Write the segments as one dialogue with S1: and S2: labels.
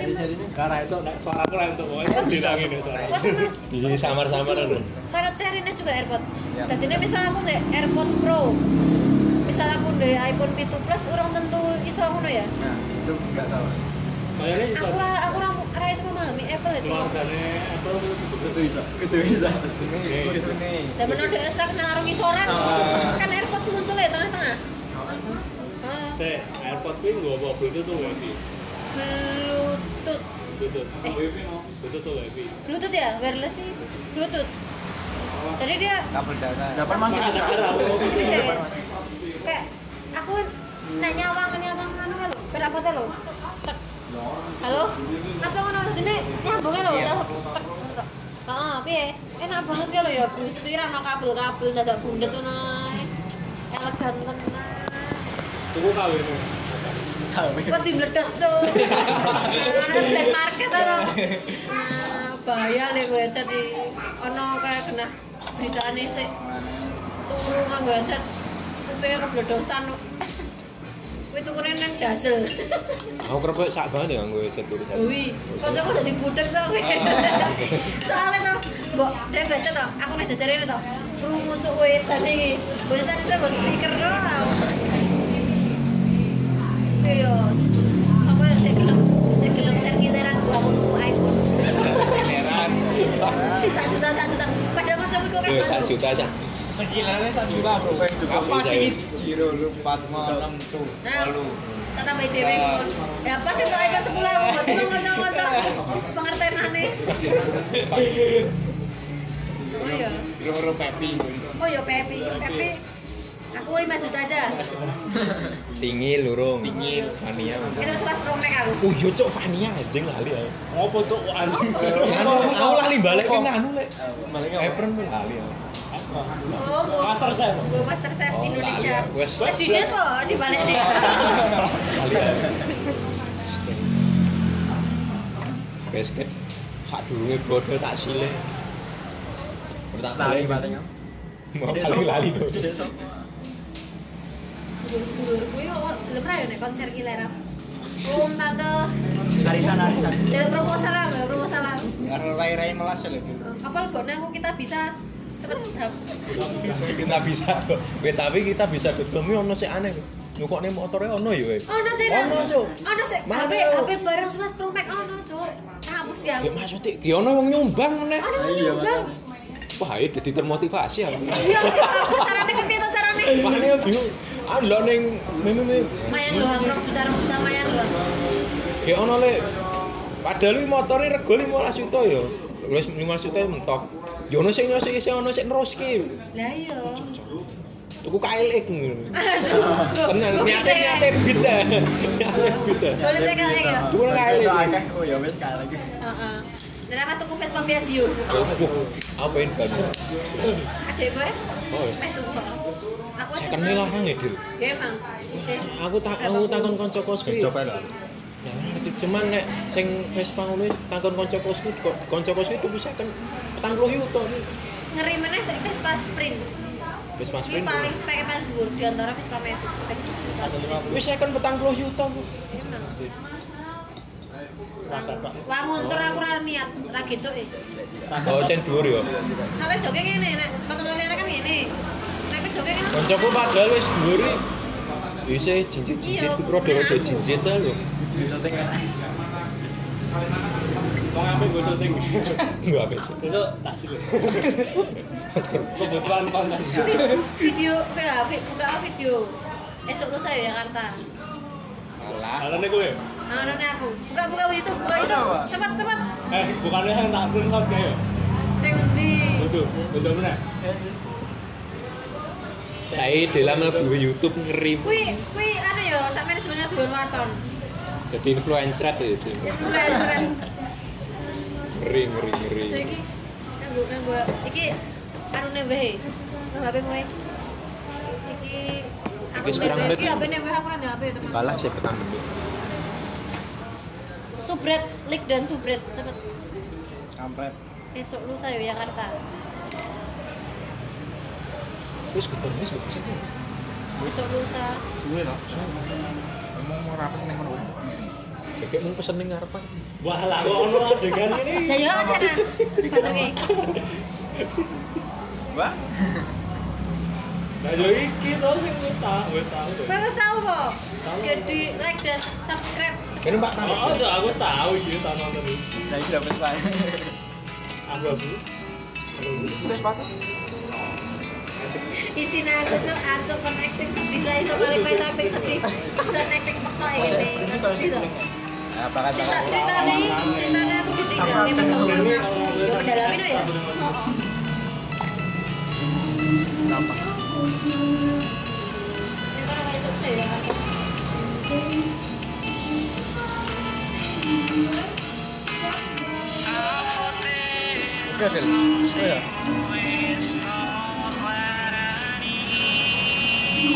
S1: jadinya
S2: Karena itu nek suara aku itu pokoknya bisa ngene suara.
S3: Di samar-samar
S4: Itu,
S3: kan.
S4: karena serinnya juga AirPod.
S1: Ya.
S4: Jadi ini misal aku nggak AirPod Pro, misal aku dari iPhone P7 Plus, orang tentu iso ngono ya.
S1: nah itu nggak tahu
S2: Bayarnya iso.
S4: Aku ra aku ra ra iso memahami Apple itu.
S2: Keluargane Apple itu
S1: itu bisa itu bisa kucune kucune
S4: Dan menurut dia setelah kenal arung isoran,
S1: Ah.
S4: kan AirPods muncul ya tengah-tengah. Ah,
S2: se AirPod kuwi nggo apa Bluetooth tuh wifi.
S4: Bluetooth,
S2: Bluetooth.
S4: Eh.
S2: Bluetooth tuh wifi.
S4: Bluetooth ya, wireless sih, Bluetooth. Jadi dia
S1: kabel data dapat masih
S2: Nah,
S1: bisa
S2: ada aku.
S4: Masih bisa ya?
S1: Depan masih.
S4: kayak aku nak nyawang nyawang anu lho, perapotnya lho. Tek. Halo? Langsung ngono dene nyambunge lho. tek, tek, tek. Heeh, piye? Enak banget ya lho ya Gusti ra ono kabel-kabel dadak bundet ngono. ae. Elegan tenan.
S2: Tuku kawinmu.
S4: Kok dimeledos tuh? Ada black market tuh. Nah, bahaya nih gue headset di ono kayak kena beritane sik turu nganggo headset kupinge kebledosan. Kuwi tukune nang dasel.
S3: Aku kerepek sak banget ya nganggo headset tulisan.
S4: Wi, kancaku dadi budek to kuwi. Soale to, mbok dek gue headset to, aku nek jajarene to. Krungu cuk wedan iki. Wis tadi saya mbok speaker to. Iya. Apa ya saya gelem, saya gelem serkileran gua aku tuku iPhone.
S1: Heran.
S4: Sak juta, sak juta. Padahal kancaku iku kan
S3: Yo Iya, sak
S4: bantu.
S3: juta sak.
S5: Sekilannya satu juta bro.
S1: apa
S3: Bisa,
S1: sih
S3: ya.
S1: Ciro lu empat mau enam tuh
S4: Nah,
S1: Walu.
S4: tak tambah dhewe
S3: Iya.
S4: ngono. Ya pas itu iPhone 10 aku buat ngono-ngono. Pengertenane. Oh iya.
S1: loro pepi
S4: Oh ya Pepi, Pepi. Aku 5 juta aja.
S3: Tinggi lurung. Tinggi. Fania.
S4: Itu selas promek aku.
S3: Oh yo cok Fania anjing lali aku.
S2: Ngopo cuk kok anjing.
S3: Anu aku lali balik ke anu lek. Apron pun lali ya. aku.
S4: Oh, mau
S2: Pasar saya. Bang.
S4: gue Master Chef
S3: Oh,
S4: Indonesia.
S3: tak lihat. Wes.
S4: Wes dides kok di balik deh.
S3: Lali ya? aku. Wes ket sak durunge bodho tak sile. Tak
S1: lari paling apa?
S3: Mau lali lali dong.
S4: Dulur-dulur kuwi kok gelem ra yo nek konser Kilera. Oh, tante,
S1: arisan arisan
S4: dari proposal lah, dari proposal lah.
S1: karo ya. rai-rai melas ya lebih
S4: Apa leboknya aku kita bisa cepet dap.
S3: kita bisa kok. Weh, tapi kita bisa ketemu ono sik aneh. Nyukokne motore ono ya weh.
S4: Oh, no sih.
S3: Ono, Cuk.
S4: Ono sih.
S3: Mana,
S4: HP
S3: Cuk?
S4: HP bareng selas promek ono, Cuk. Kampus ya.
S3: Ya maksudnya, ki ono wong nyumbang meneh.
S4: Ono nyumbang.
S3: Wah, ya jadi termotivasi aku.
S4: Iya, iya, aku carane kepiye to carane?
S3: Pahane ya bingung. Ah, lho ning meme meme.
S4: Mayan lho, rong juta, rong juta mayan lho.
S3: Ki ono le. Padahal iki motore rego 15 juta ya. Wis 15 juta mentok. Ya ono sing nyosi sing ono sing neruski.
S4: Lah iya.
S3: Tuku KLX ngono. Tenan
S4: Tenan
S3: nyate nyate bit ya. Nyate bit ya.
S4: Boleh tak kayak ya?
S3: Dua kali.
S1: Akeh, Gitu. oh ya wes kalah lagi
S4: Heeh. Dan aku tuku Vespa Piaggio.
S3: Wah, Apa ini baru?
S4: Adek kowe?
S3: Oh, iya.
S4: Meh tuku. Aku aja.
S3: Kenal lah nggih, Dil.
S4: Ya emang. Sih.
S3: aku tak aku takon kanca kosku ya,
S1: coba lah
S3: cuman nek sing Vespa ngono iki takon kanca kosku kok kanca kosku itu bisa kan 40 yuta iki.
S4: Ngeri meneh sik Vespa Sprint.
S3: Vespa
S4: Ini
S3: Sprint
S4: paling spek paling dhuwur di antara Vespa Matic. Spek Vespa Sprint.
S3: wis kan 40 yuta Bu.
S4: Emang.
S2: Mantap, Pak.
S4: Wah nguntur aku ora niat, ora gitu eh.
S3: oh cen dhuwur ya
S4: Soale joge ngene nek motor-motor kan ngene. Nek kowe joge ngene.
S3: kancaku padahal wis dhuwur iki isih jinjit-jinjit
S4: Iya,
S3: rodo-rodo
S4: aku.
S3: jinjit ta lho
S1: bisa tengah
S2: Wong ape nggo syuting.
S3: enggak wis
S2: Besok tak sile. Kebutuhan konten.
S4: Vid- video ya, vid- buka video esok lusa ya Jakarta
S2: Alane kowe.
S4: Ah, ini aku buka buka YouTube buka YouTube
S1: Apa?
S4: cepat cepat
S2: Eh, bukannya yang tak screenshot ya? kayak.
S4: sing di
S2: Betul, betul meneh.
S3: saya dalam mlebu YouTube ngeri
S4: kui kui anu ya sak manajemennya Dewan Waton
S3: jadi influencer ya Dil.
S4: ya influencer
S3: ngeri ngeri ngeri
S4: so iki nganggo nganggo iki anu nembe nang HP kowe iki aku
S3: Iki sepirang
S4: nembe
S3: menit
S4: iki
S3: sih.
S4: HP nembe aku ora ndek HP ya, teman
S3: kalah saya petang menit
S4: subret lik dan subret cepet
S1: kampret
S4: esok lusa ya Jakarta
S3: wis ketemu wis ketemu
S4: esok lusa
S1: suwe toh emang mau rapes nih menurut Kayak mau pesen ning ngarepan.
S2: Wah lah, kok ono adegan ini.
S4: Ya yo acara. Oke.
S6: Wah,
S2: Nah, yo iki to sing wis tak, wis tak.
S4: Kowe wis tahu kok. Ge di like dan subscribe.
S1: Kene Pak Tamat.
S2: Oh, so aku wis tahu iki tak nonton iki.
S6: nah ini udah pesan.
S2: Aku aku.
S4: Isine aku tuh ancuk kon acting sedih lah iso balik pas acting sedih. Iso acting peka ini. Sedih to.
S6: Nah, bakal
S4: Cerita ceritane ceritane aku ditinggal ke karena yo mendalami no ya. Ini kan orang esok sih, ya kan?
S6: Oke, Phil. Oh, iya.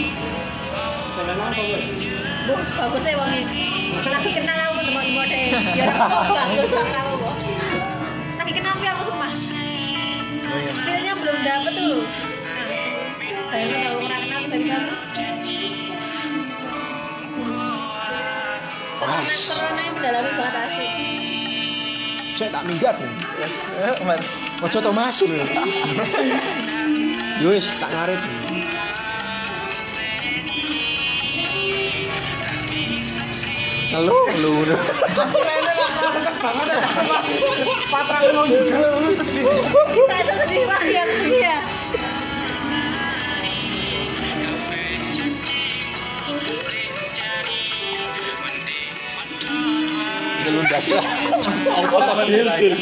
S2: Sampeyan langsung wis.
S4: Bu, bagus ya wangi. Lagi kenal aku teman-teman deh. Ya orang bagus sama aku. Bu. Lagi kenal aku aku sumpah.
S6: Oh, iya.
S4: Feelnya belum dapet tuh loh. Kayak lo tau orang kenal kita di baru. Temenan corona yang mendalami banget asu.
S1: Saya tak minggat.
S6: Eh, Umar.
S1: Ojo to masuk. Yo wis tak ngarit. Halo, halo.
S4: Rasa sedih banget ya sedih ya.
S1: Gelundas lah. Apa tak dildir.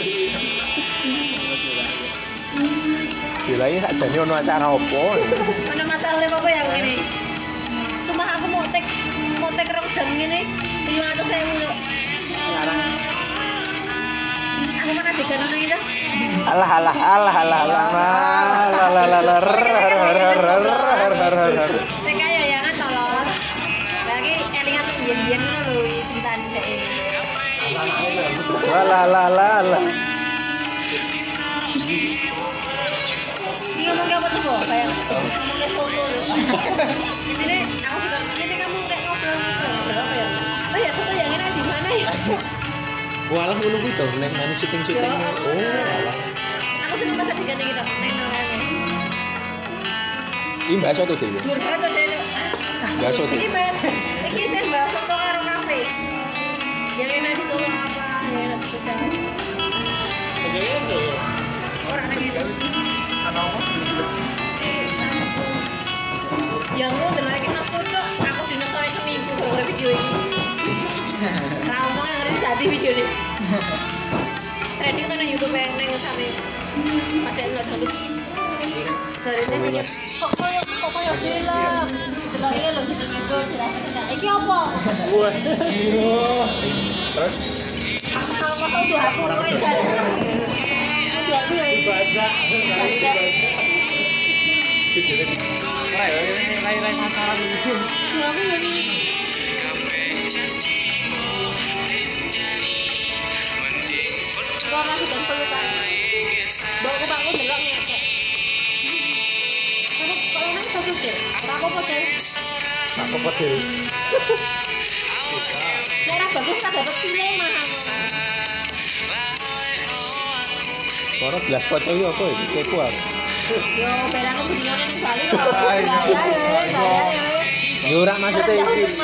S1: Gila ini sakjane ono acara opo?
S4: Mana masalahnya apa ya ini? Sumpah aku mau tek mau tek rong jam ini lima ratus ribu yuk. Aku mana digantung ini dah.
S1: Alah alah alah alah alah alah alah alah alah
S4: Nek kaya ya kan tolong. Lagi elingan sing biyen-biyen ngono lho iki cintane dhek.
S1: alah alah alah alah
S4: Iki ngomong apa coba? Bayang. Ngomong ke soto lho. Ini aku juga ini kamu kayak ngobrol ngobrol apa ya? Oh ya soto yang enak di mana ya?
S1: Walah ngono kuwi to nek nang syuting-syuting. Oh alah.
S4: Aku seneng masa diganti gitu. Tenang aja.
S1: Ini mbak soto dhewe.
S4: Gur banget soto ini.
S1: Iya. Bakso tuh.
S4: Iki bahas. Iki saya bahas soto karo kafe. Yang enak di Solo apa? Ya enak di Solo.
S2: Kayaknya itu.
S4: orang nang ngene. Eh, langsung. Ya ngono delok iki nesu cuk, aku dinesone seminggu gara-gara video iki. Ra omong ngerti dadi video ini. Trending tuh nang YouTube ya, nang sampe pacet lo dulu. Jarine mikir, kok koyo kok koyo Gitu film. Delok iki lho "Iya, di video jelasin nggak? "Eh, Iki apa?
S2: Wah.
S6: iya. Terus,
S4: Apa kau tuh aku kowe kan. Udah aku ya.
S2: Baca.
S4: Baca.
S6: mulai, mulai, mulai, mulai, mulai, sasaran dulu.
S4: Udah aku ya nih. Warna hitam pelukan. Bawa ke pakku delok ngekek. Kamu kalau nang satu deh. Ora apa-apa deh.
S1: Tak kepet dhewe.
S4: Nek ora bagus tak dapat pile mahal.
S1: Ora gelas kaca iki apa iki? Keku aku.
S4: Yo berang aku dilone nang Bali kok.
S6: Ayo.
S4: Ya ya ya.
S1: Yo ora maksudnya
S4: Maksudnya
S1: iki.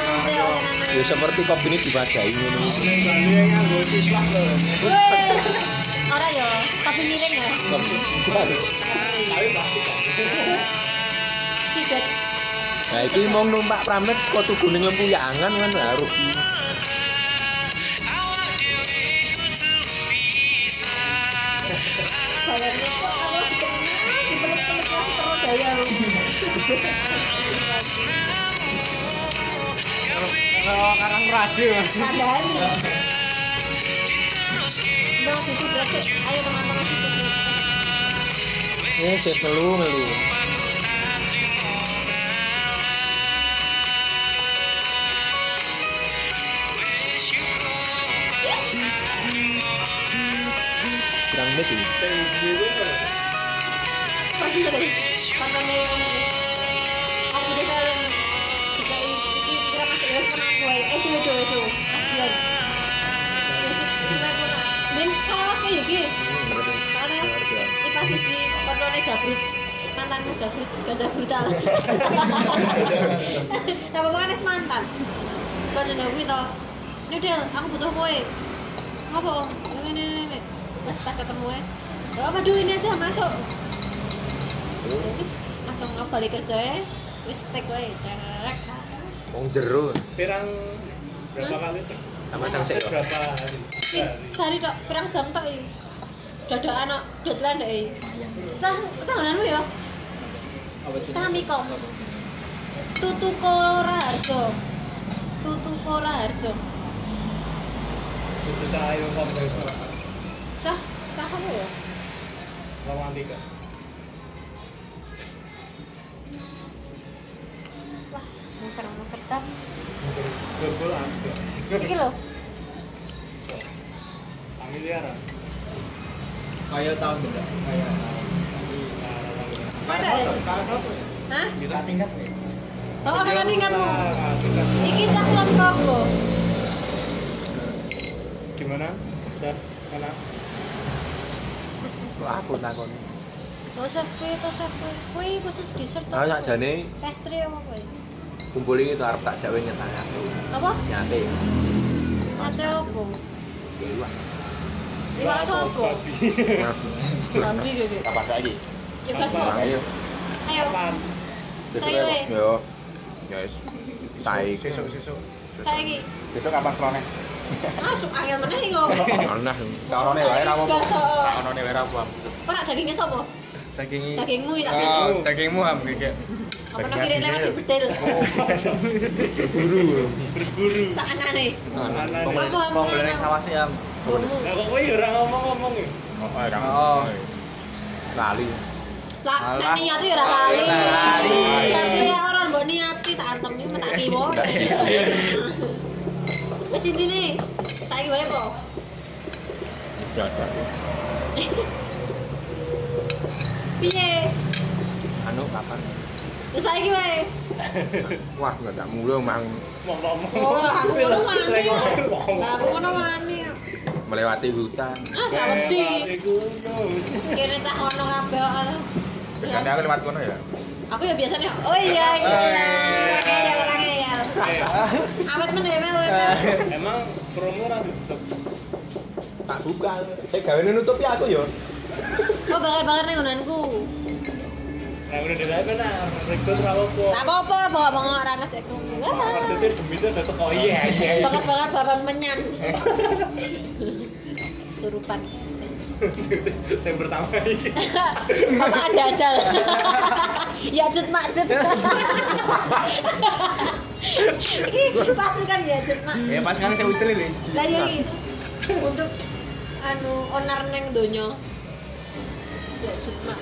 S1: Ya
S4: itu.
S1: seperti kopi ini diwadahi ngono.
S2: Balik nganggo siswa lho.
S4: Weh. Ora yo, tapi miring ya.
S1: Kopi.
S2: Tapi pasti kan.
S4: Cidet.
S1: Nah, iki mau numpak pramit kok tuku ning Lempuyangan kan harus.
S4: Bayarnya kok aku dikenal, dipeluk-peluk lagi terus daya aku.
S6: Kalau karang radio, Mas.
S4: Sadari. Udah susu berarti. Ayo teman-teman susu berarti.
S1: Eh, saya melu melu. Kurang menit ini.
S2: Sing biru kan.
S4: Pergi ke deh. Tontonnya yang ini. Aku deh eh, kalian. Jika i- iki kira masuk ke sana, gue. Eh, sih, itu, itu. Kasian. iki iki. Karena IPA siji koncone Gabrut. Mantanmu Gabrut, gajah brutal. Nah, pokoknya wis mantan. Koncone kuwi to. Ini Del, aku butuh kowe. Ngopo? Ini ini ini. ini. Terus pas ketemu ya. Ya apa duh ini aja masuk. Ya Wis langsung balik kerja ya. Wis tek kowe.
S1: Wong jero.
S2: Pirang berapa kali? tek?
S1: Sama tang sik yo.
S2: Berapa hari?
S4: Sari tok pirang jam tok iki. Dadakan kok deadline deh. Cah, cah nganu ya. Cah mikom. Tutu Koraharjo. Tutu Koraharjo.
S2: Itu cahaya kompleks
S4: Cah, cah apa ya?
S2: romantika.
S4: Wah, muser-muser tap.
S2: Jebol ada.
S4: Iki lho.
S2: Tangi liara.
S6: Kayak tahun beda. Kayak
S2: Nah,
S4: Pada ya? Hah?
S6: kita tingkat ya.
S4: Oh, kakak tingkatmu.
S2: Tingkat.
S4: Iki cah Progo.
S2: Gimana? Bisa? Enak?
S1: Kok aku takon.
S4: Oh, chef kuwi to chef kuwi. Kuwi khusus dessert to.
S1: Nah, sakjane
S4: pastry apa kuwi?
S1: kumpul iki tuh arep tak jawe nyetak aku.
S4: Apa?
S1: Nyate.
S4: Ate opo?
S1: Iya.
S4: Iwak sopo? Tapi gede.
S7: Kapan lagi?
S4: Ya gas mau.
S7: Ayo.
S4: Ayo.
S2: Pan.
S4: Saya we.
S7: Yo. Guys. Tai.
S6: Sesuk-sesuk.
S4: Saya iki.
S7: Besok kapan serone?
S4: Masuk angel meneh iki. kok.
S1: Nah,
S7: Saonone wae ra apa.
S4: Besok.
S7: Saonone wae ra apa.
S4: Ora dagingnya sopo?
S6: Daging
S4: Dagingmu ya.
S1: Oh,
S6: Ah, dagingmu ham kayak
S4: Apa nang kiri lewat di bedel.
S2: Berburu.
S4: Saanane.
S6: nah,
S2: Anak.
S4: Apa ham?
S6: Mau beli sawas sih ham.
S4: Burmu.
S2: Lah kok kowe ora ngomong-ngomong ya?
S7: Oh, ra
S6: Oh.
S7: Lali.
S4: Lah, nek
S6: Alah.
S4: niat ya ora lali.
S6: Lali.
S4: Tapi ya ora mbok niati tak antem iki tak kiwo. Wis intine saiki wae po.
S6: Iya,
S7: Ya, ya.
S4: Piye?
S1: anu kapan?
S4: Wis saiki wae.
S1: Wah, enggak tak mulu mang
S2: Ngomong-ngomong.
S4: Oh, aku ngono
S2: Lek
S4: wani.
S2: ngomong.
S4: Lah, Aku ngono wani.
S1: melewati hutan.
S4: Ah, ora wedi.
S2: Iku.
S4: Kene cah ono kabeh. kok.
S7: Biasanya aku lewat kono ya.
S4: Aku ya biasanya, oh iya, iya, iya, iya, iya,
S2: Eh,
S4: Awet meneh mel, mel.
S2: Emang promo ora tutup.
S1: Tak buka. Saya gawe nutupi aku yo.
S4: Oh, bakar-bakar ning nggonanku.
S2: Nah, udah dirayain kan nah, rekrut ra apa-apa.
S4: Tak apa-apa, bawa bengok ra nek krungu.
S2: Maksudnya demite udah teko iya.
S4: Bakar-bakar bapak menyan. Surupan.
S2: Yang pertama iki.
S4: Bapak ada aja. ya jut mak jut. Ini pasti kan ya jut mak.
S6: Ya pas kan saya ucil ini.
S4: Lah ya
S6: iya.
S4: iki. untuk anu onar neng donya. Ya jut mak.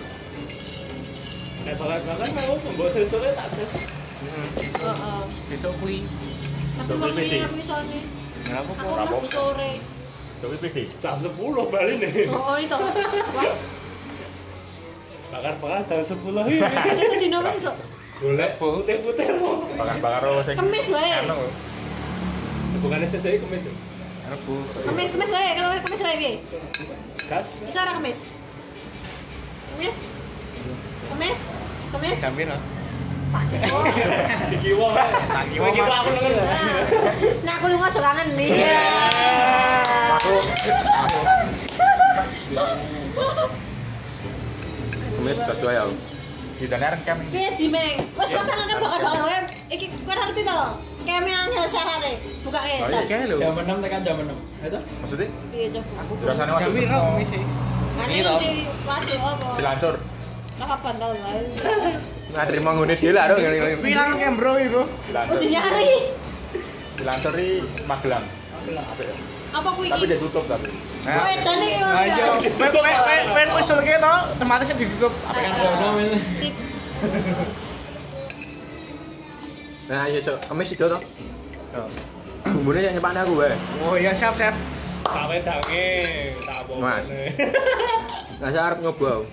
S2: Nek bakal-bakal mau mbok sesore tak tes.
S4: Heeh.
S6: Besok kui.
S4: Oh, Aku mau
S7: PD.
S4: nginep isone.
S6: Kenapa?
S4: Aku mau sore.
S7: Coba PD.
S2: Jam 10 bali nih.
S4: Oh, oh, itu. Wah,
S2: Bakar-bakar jam 10 iki.
S4: sesuk dino wis kok.
S2: Golek putih-putih mau.
S7: Bakar-bakar ro sing.
S4: Kemis wae.
S7: Anu.
S2: Bukannya sesuk iki kemis. ya?
S6: Anu bu.
S4: Kemis, kemis wae, kalau kemis wae piye?
S2: Gas.
S4: Iso ora kemis? Kemis. Kemis. Kemis.
S6: Jamin ah. lah.
S4: Pak Joko.
S2: Dikiwa. wae.
S6: Dikiwa,
S2: Dikiwa aku
S6: Mas.
S2: nengen.
S4: Nah, aku lunga aja kangen nih.
S1: Aku. Kemis tas
S7: ya,
S1: wae aku.
S7: Ditane areng kem.
S4: Piye Iya, Jimeng? Wis rasane bakar-bakar wae. Iki kowe ora ngerti to. Keme angel syarate. Bukake.
S6: Iya,
S1: Oh, iya.
S7: Oke lho.
S6: Jam 6 tekan jam Iya, 6. Itu?
S7: Maksudnya
S4: Piye coba?
S7: rasane waktu
S6: Jamin lah
S7: sepo.
S6: komisi.
S4: Kan
S6: Ini to.
S4: iki waduh apa?
S7: Dilancur.
S4: Lah kapan tau wae.
S1: Nggak terima ngene dhewe lah dong.
S6: Bilang kan bro itu.
S7: Dilancur.
S4: Udah nyari.
S7: Dilancur di Magelang. Apik ya?
S4: Apa kuwi
S7: Tapi
S4: iki?
S7: dia tutup tapi.
S4: Kowe edane Nah, kok.
S6: Ayo.
S2: Ditutup,
S6: Wen wen wen usul kita. Tempatnya sih ditutup.
S4: Sip.
S1: Nah, ayo cok, kemis itu toh. Bumbune yang nyepakne aku wae.
S6: Oh ya siap siap.
S2: Tak wedange. Tak apa-apa.
S1: Mas. Nah, saya arep nyoba. aku.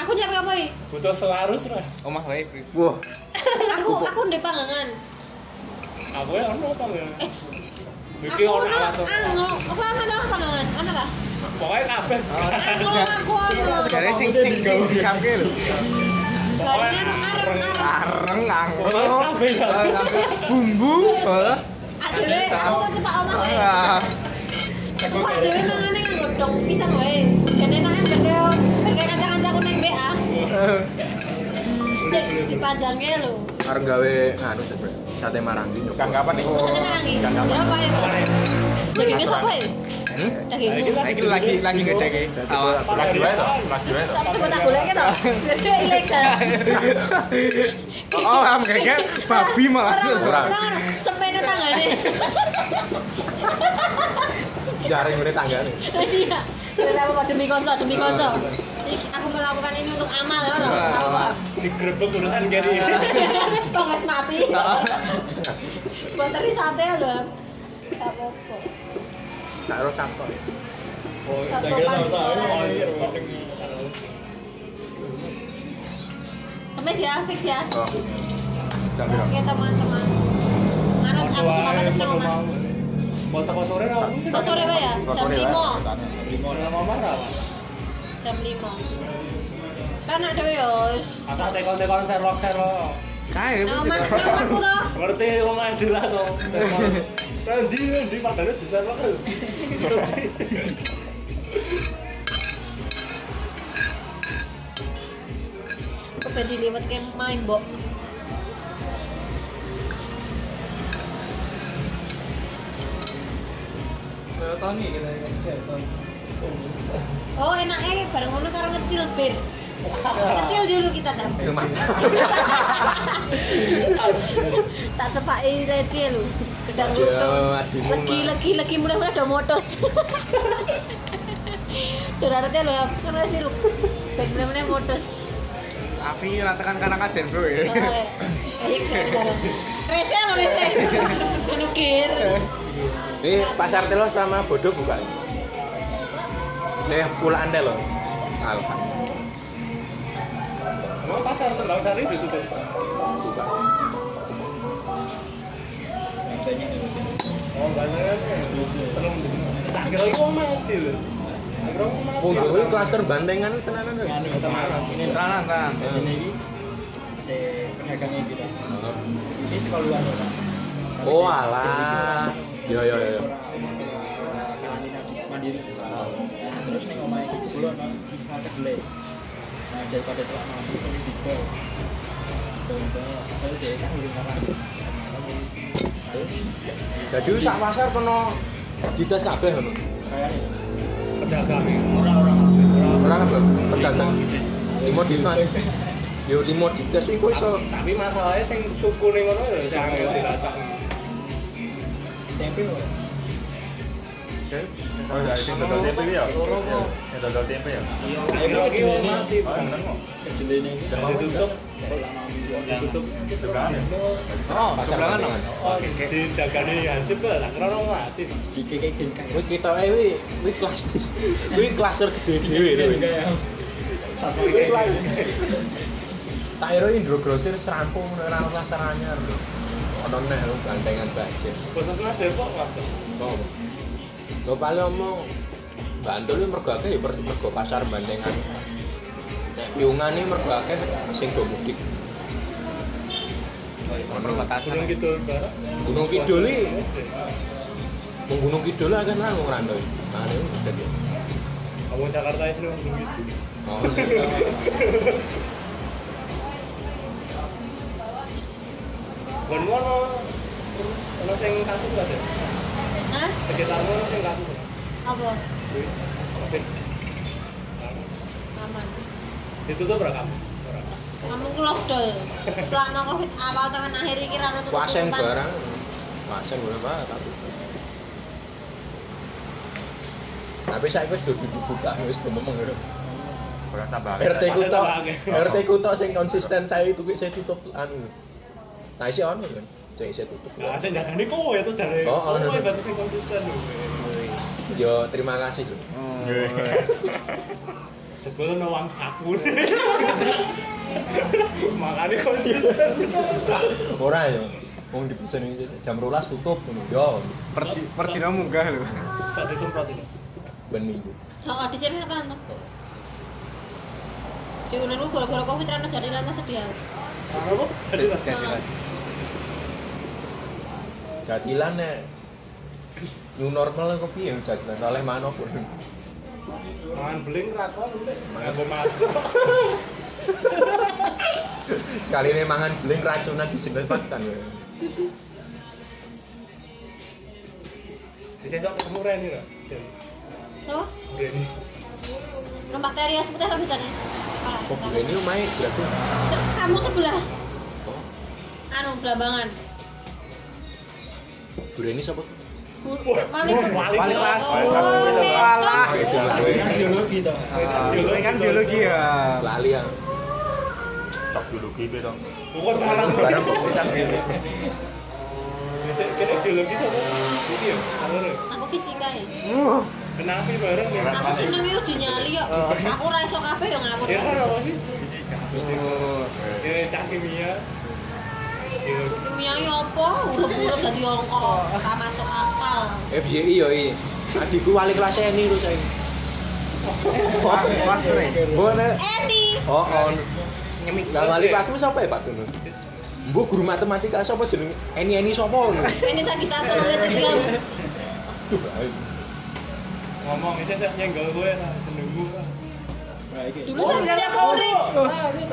S4: Aku nyampe apa iki?
S2: Butuh selarus lah.
S6: Omah wae.
S1: Wah,
S4: Aku aku ndek panggangan.
S2: Aku ya ono apa ya?
S4: Eh,
S2: Iki
S4: Aku
S2: ono
S4: ono
S2: alat.
S4: anu, apa ono tau panggangan? Ono lah.
S2: Pokoknya kabeh.
S4: Aku aku
S6: Dari sing sing sing dicapke lho.
S4: Garine anu arep-arep.
S6: Areng
S2: Pokoknya
S6: anggur.
S2: kabeh.
S6: Bumbu. eh.
S4: Adele aku mau cepak omah wae.
S6: Ah,
S4: Aku adele mangane kan godhong pisang wae. Dan kan enakan berdeo berkayak kanca-kancaku nang BA.
S6: eh.
S4: Sik dipanjange lho.
S1: Arep gawe anu sate, sate marangi
S8: Kan
S1: nyoba.
S8: kapan nih?
S4: Kok sate marangi? Berapa ya, Bos? Dagingnya sapa ya? Dagingku.
S6: Nah, Iki lagi lagi gede iki. Awak.
S8: Lagi wae toh, lagi wae toh.
S4: Tapi coba tak golek to. Jadi ilegal.
S6: Oh, am kayak babi malah.
S4: Orang, orang, sepeda tanggane.
S8: Jaring ngene tanggane.
S4: Iya. Demi apa kok demi konco, demi konco. Iki aku melakukan ini untuk amal ya, lho.
S6: Nah,
S4: Apa?
S2: Digrebek urusan gini.
S4: Ah. Kok wis mati.
S6: Nah.
S4: Boteri sate lho. Gak apa-apa.
S6: Oh,
S1: Tak ro sate.
S6: iya.
S4: Satu panditora.
S2: Iya,
S4: Kemis ya, fix ya.
S1: Oh.
S8: Jam
S6: Nah,
S8: piro?
S6: iya.
S4: Oke teman-teman. Manut aku cuma pantes nang omah.
S2: Masa-masa sore ra mesti.
S4: Kok sore wae ya? Jam
S1: Sore wae.
S4: 5.
S2: Gimana mama ra?
S4: Jam 5. Kan ada yo.
S2: Asal tekon-tekon serok-serok.
S6: Kae.
S4: Nang omah, nang omahku to.
S2: Ngerti wong adil lah to. Tadi di padane diserok.
S4: Kepen diliwat ke main, Mbok. Oh, enaknya bareng ngono karo ngecil bir. Kecil dulu kita tak. tak cepaki leci lu. Gedang
S1: Ya,
S4: lutung.
S1: adimu,
S4: Legi
S1: Mas.
S4: legi legi mudah-mudahan ada motos. Dorarete lho, kan wis lu. Ben meneh motos. Oh, iya. Eh,
S6: Api ratakan kanan kaden, Bro. ya.
S4: Rese lho rese. Anu kir.
S1: Ini pasar telo sama bodoh buka. Saya pulaan telo. Alhamdulillah
S2: Mau pasar tembang sari ditutup.
S1: buka.
S2: Oh, banyak. Terus tak kira iku wong mati lho. Tak kira wong mati. Anu,
S1: Monggo kuwi Oh, iya, klaster bandengan iki tenanan lho.
S9: Ini
S6: Tanan, tanan.
S9: ini ini si penegangnya kita. Ini sekolah luar kota.
S1: Oh alah. Yo yo yo.
S9: Orang karantina di mandiri. Nah, Terus nih omah iki jebul ana sisa kedelai. Nah, daripada selak mati ini dibel. Domba, terus dia kan urung orang. Terus
S1: Jadi sak pasar kena didas kabeh ngono.
S9: kayak nih,
S2: Pedagang.
S1: Ora kabeh pedagang. Limo didas. Yo limo didas iku iso
S2: Tapi masalahnya sing tuku ning ngono ya sing ngerti lacak.
S9: tempe wae.
S8: Oh, dari sing dodol tempe iki ya. Sing dodol tempe ya.
S2: Akhirnya iki wong mati.
S8: Oh, bener kok.
S9: Kedelainya ini
S2: Dan ditutup. Ditutup.
S8: Itu kan.
S1: oh, pasar bandengan.
S2: Oh, dijagani hansip lah, tak kira orang mati.
S9: dikekek dengkang.
S1: Kuwi ketoke kuwi kuwi klaster. Kuwi klaster gede dhewe lho. Kuwi klaster. Tak kira Indro Grosir serampung ora ana klaster anyar lho. Ono neh lho gantengan banjir.
S2: Khusus Mas Depok, Mas.
S1: Apa? Lo paling omong Bantul ini mergo akeh ya per- mergo pasar bandengan. Nek piungan ini mergo akeh sing go mudik.
S2: Gunung Kidul Barat.
S1: Gunung Kidul ini Wong Gunung Kidul kan akeh nang ora ndo. Mane mudik ya.
S2: Kamu Jakarta sini Mas Gunung Kidul.
S1: Oh, iya.
S2: Gon ngono. Ono sing kasus lah, Dek.
S4: Hah?
S2: Sekitarmu ono sing kasus.
S4: Apa?
S2: Kuwi. Covid.
S4: Aman.
S2: Ditutup ora kamu? Ora.
S4: Kamu ku lockdown. Selama Covid awal tangan akhir iki ra tutup.
S1: Kuaseng
S4: tutupan.
S1: barang. Kuaseng ora mah tapi. Tapi saya wis dudu dibuka wis ngomong ngono.
S8: Ora tambah.
S1: RT ku tok.
S2: Padahal
S1: RT ku tok sing konsisten saya itu saya tutup anu. Nah isi ono kan. Saya saya tutup.
S2: Nah, sing jagani kowe terus jare.
S1: Oh,
S2: Kowe
S1: ono.
S2: berarti sing konsisten lho.
S1: Yo terima kasih lho.
S6: Oh.
S2: Jebul ono wang sapu. Makane konsisten.
S1: Ora yo. Wong dipesen iki jam 12 tutup ngono. Yo
S6: Per per dina munggah lho.
S2: Sak disemprot iki.
S1: ben minggu.
S4: Heeh, Oh, di sini apa teko. Diunen ku gara-gara Covid ra ono jadi lan sedih aku.
S2: Apa? Jadi lah.
S4: Heeh.
S1: jatilan nek new normal kok piye jatilan oleh mano pun
S2: Mangan beling rakon. Nganggo masker.
S1: sekali ini mangan beling racunan disinfektan ya
S2: Sesuk ketemu Reni lho.
S4: So,
S2: Reni.
S4: no bakteri putih tapi ya, jane.
S2: Oh.
S1: kok gue ini main berarti
S4: Kamu sebelah. Anu belambangan.
S1: gue ini siapa
S4: Malik
S6: Wali kelas.
S4: Oh, Walah.
S2: Ah, iya,
S1: itu
S5: kan biologi toh
S6: Biologi kan biologi ya.
S2: iya.
S1: lali ya
S7: Cok biologi gitu
S2: Bukan malah barang kok kecang gini. Sesuk kene biologi sapa? Iki yo. Anu lho.
S4: Aku fisika ya.
S2: Kenapa bareng ya?
S4: Aku seneng iki uji nyali yo. Aku ra iso kabeh yo ngawur.
S2: Oh. Ya kan apa sih?
S6: Oh.
S2: Ya cah kimia. Biologi.
S4: Kimia yo apa? Urip-urip dadi angka. Ra masuk akal.
S1: FYI yo i adikku wali kelas ini tuh saya
S6: Wali kelas nih.
S1: gue nek
S4: Edi.
S1: oh on
S6: Nyemik.
S1: Lah wali kelasmu siapa ya Pak Dono? Mbok guru matematika siapa jeneng Eni Eni siapa ngono?
S4: Ini sakit asal oleh cecilan.
S1: Duh, ayo.
S2: Ngomong isih sak nyenggol kowe lah jenengmu.
S4: Dulu
S2: Oh,
S4: saya
S2: iya.
S4: punya murid.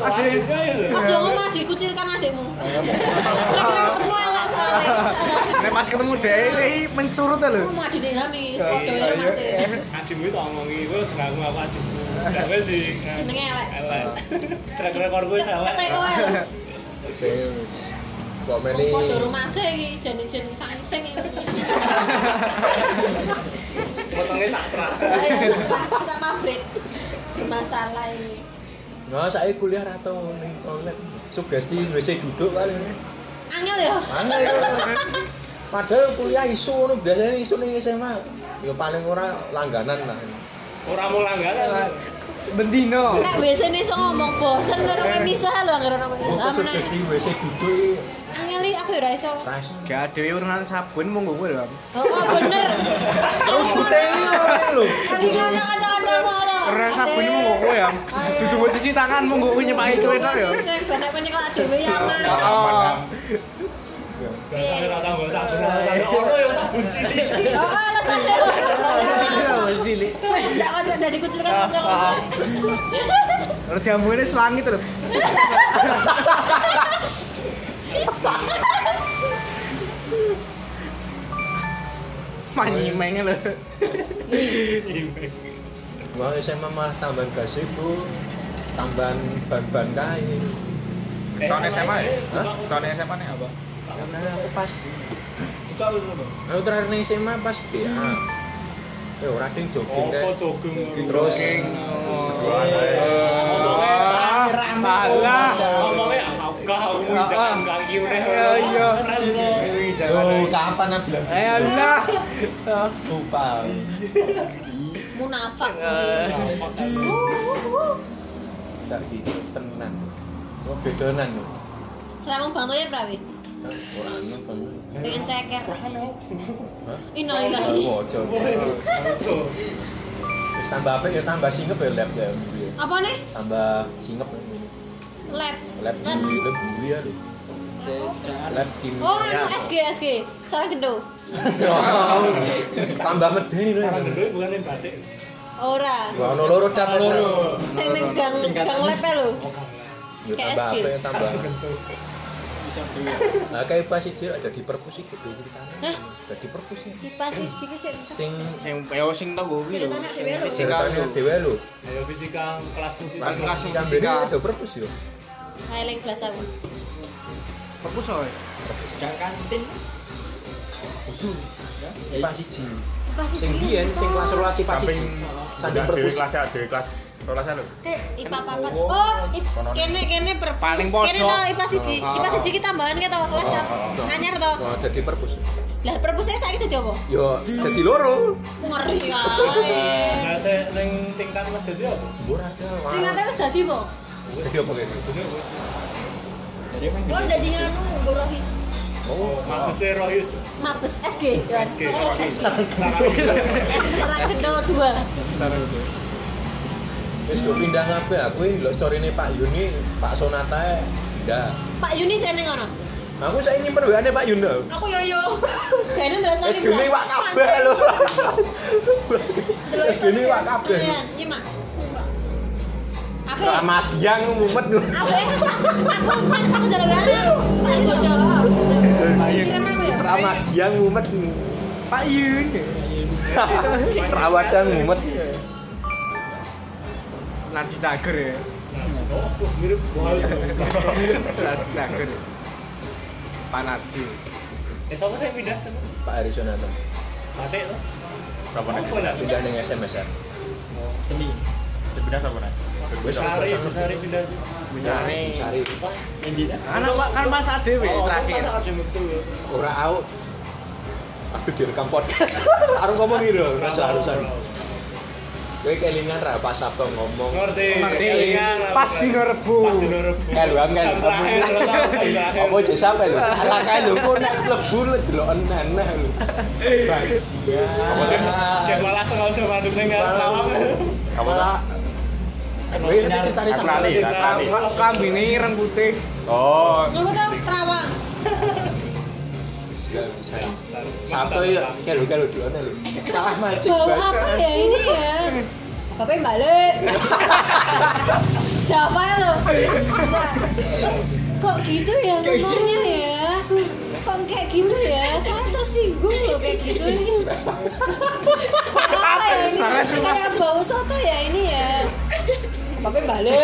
S2: Asli kae lho.
S4: Aja ngomong dikucilkan adikmu. Kira-kira kamu elak soalnya.
S6: Nek pas ketemu dhewe iki mensurut ya lho.
S4: Kamu adine Hami, sepeda ya masih.
S2: Adikmu tak ngomongi, kowe aja ngaku aku adikmu. Nek kowe di
S4: Jenenge elek.
S2: elek. Track record kowe elek.
S4: Ketek kowe. lho.
S1: Sing komen ini
S4: Sepeda rumase iki jenis-jenis sangsing iki.
S2: Potongnya sakra.
S4: Ayo, kita pabrik. Masalah ini.
S1: Nggak, saya kuliah atau ning toilet. Sugesti WC duduk kali ini.
S4: Angel ya.
S1: Angel ya. Padahal kuliah isu ngono biasanya isu ning SMA. Ya paling ora langganan lah.
S2: Ora mau langganan.
S6: Bendino.
S4: Nek biasanya iso ngomong bosen karo kowe misah lho anggere ono kowe.
S1: Kok sugesti WC duduk
S4: Angel iki aku ya ora iso.
S1: rasa
S6: Gak dhewe urunan sabun mung gue lho.
S4: Oh, bener.
S1: lho.
S4: Nanti kalau nak kaca-kaca mau ora.
S6: Urunan sabun mung gue ya. Dudu mau cuci tangan mung gue nyepake kowe
S4: Iya,
S6: tok ya.
S4: Benek penyekel dhewe ya Mas.
S6: Oh.
S2: Sampai rata nggak sabun, sampai ono ya sabun cilik.
S4: Oh, alasane.
S6: Cilik.
S4: Ndak kocok dari kucil kan kocok.
S6: Kalau jamuannya selangit lho. Manyimeng lho.
S1: Wah, SMA malah tambahan gazebo, tambahan ban-ban kae.
S7: Tahun SMA ya? Tahun SMA nih apa?
S1: Karena aku pas
S5: itu aku tuh
S1: aku terakhir nih SMA pas DA. Ya ora ding jogging
S2: Opo
S1: kae.
S2: jogging.
S1: Terus
S6: Alah.
S2: Ngomongnya apa? Aku mau jalan kaki udah.
S6: Ya iya.
S1: Oh, kapan aku bilang gitu?
S6: Eh Allah.
S1: lupa.
S4: Munafik.
S1: Tak gitu tenan. Oh, bedonan lho.
S4: Selama Bang Toyir prawit.
S1: Hah, Ora anu kan.
S4: ya, Pengen ceker.
S1: Hah?
S4: Innalillahi.
S1: Aku aja. Wis tambah apik ya tambah singep ya lab ya.
S4: Apa nih?
S1: Tambah singep
S4: Lab.
S1: lab lab buri ya lho. Lab kim.
S4: Oh, anu
S1: Ya.
S4: SG SG. Sarah Gendo.
S1: Tambah medeni lho.
S2: Saran dulu bukan yang batik.
S4: Ora.
S1: Wah, ono loro dat loro.
S4: Sing ning gang gang lab e lho.
S1: Ya,
S4: Kayak
S1: tambah
S4: SG.
S1: apa ya tambah nah kayak pas sih ada di perpus sih gitu
S4: Hah?
S1: ceritanya ada ya. di perpus sih
S4: Kipas iki sik sik.
S1: sing
S6: Sing yo sing tak gue lho.
S4: Ceritanya dhewe lho.
S1: ceritanya dewe lo
S2: Ayo fisika kelas fisika.
S6: Kelas- kelas
S1: yang
S6: fisika.
S1: beri ada perpus yo
S4: Highlight belas aku.
S6: Perpus oi.
S5: gak kantin
S1: Ipa siji
S4: Kipas iki.
S1: sing biyen sing kelas rolas Ipa
S7: Samping
S1: siji samping
S7: Enggak, dewe
S1: perpus
S7: kelas ya, dewe kelas Kelasnya lho
S4: IPA papat. Oh,
S1: iya,
S4: i- kene kene perpus.
S6: Paling
S4: Kene
S6: pojok.
S4: tau IPA siji.
S1: Ah,
S4: IPA siji ki tambahan ke tau kelas tau. Nganyar tau.
S1: Oh, ada di perpus
S4: Lah perpusnya saiki dadi apa?
S1: yo jadi loro
S4: Ngeri kae.
S2: Nah, saya neng tingkat kelas itu apa?
S1: murah ada
S4: Ternyata wis dadi apa?
S1: jadi apa kayak gitu
S2: Dulu wis.
S5: jadi kan
S4: Lo dadi nganu gorohis.
S1: oh
S2: Mabes Rohis.
S4: Mabes SG.
S2: SG. Sangat
S4: Sarah Gendo 2. dua
S1: Wis go pindah kabeh aku iki ndelok storyne Pak Yuni, Pak Sonata e, pindah.
S4: Pak Yuni seneng ngono
S1: Aku saya nyimpen WA-ne Pak Yuni. tau.
S4: aku yo yo kayaknya terus
S1: Wis gini wak kabeh lho. Wis gini wak kabeh.
S4: iya mak apa ya?
S1: Ramadiang mumet lho.
S4: apa ya? aku aku aku jalan aku Pak Godok Kirim apa ya?
S1: Ramadiang mumet. Pak Yuni. Rawadang mumet.
S6: Nanti cager ya. Nanti cager. Panarji.
S2: Eh, sama saya pindah sama.
S1: Pak Heri Sonata
S2: Mati loh.
S7: Berapa nih?
S2: Apa lah?
S1: pindah ning SMSR.
S5: seni
S7: Sebenarnya berapa nih?
S1: Wis aku
S2: Sari,
S1: gak seneng.
S2: sari pindah.
S6: Misalnya.
S1: Sari.
S5: Endi dah?
S6: Anak Pak, kan Mas Ade weh,
S2: Oh, aku
S6: terakhir.
S2: pas ada metu ya.
S1: Ora aku aku direkam podcast. Arep ngomong iki lho, rasa harusan. Kowe kelingan ra pas Sabto ngomong.
S2: Ngerti. Iya,
S6: Ngerti.
S2: Kelingan,
S6: Pas
S2: ngerti.
S6: dino rebu.
S2: Pas dino rebu.
S1: Kayak lu angel.
S2: Jam terakhir, lo tau, jam terakhir.
S1: Apa aja sampe lho. Alah kae lho kok nek klebu lho deloken aneh lho.
S2: Dia- dia
S1: Bajingan.
S2: malah sengaja sama aduknya nggak malam.
S7: Kamu tak?
S1: Kowe iki ceritane
S7: Aku
S1: sampe
S7: lali, aku lali.
S6: Kalau kambingnya ireng putih.
S7: Oh,
S4: Kamu tahu terawang?
S1: Gak bisa. Sabto ya kayak lho kayak lho deloken lho. Kalah mancing
S4: Bau apa
S1: bajingan.
S4: ya ini ya? Bapak balik. Siapa lo? Kok gitu ya ngomongnya ya? Kok kayak gitu ya? Saya tersinggung loh kayak gitu ini. Apa ya ini? Kayak bau soto ya ini ya? Bapak balik.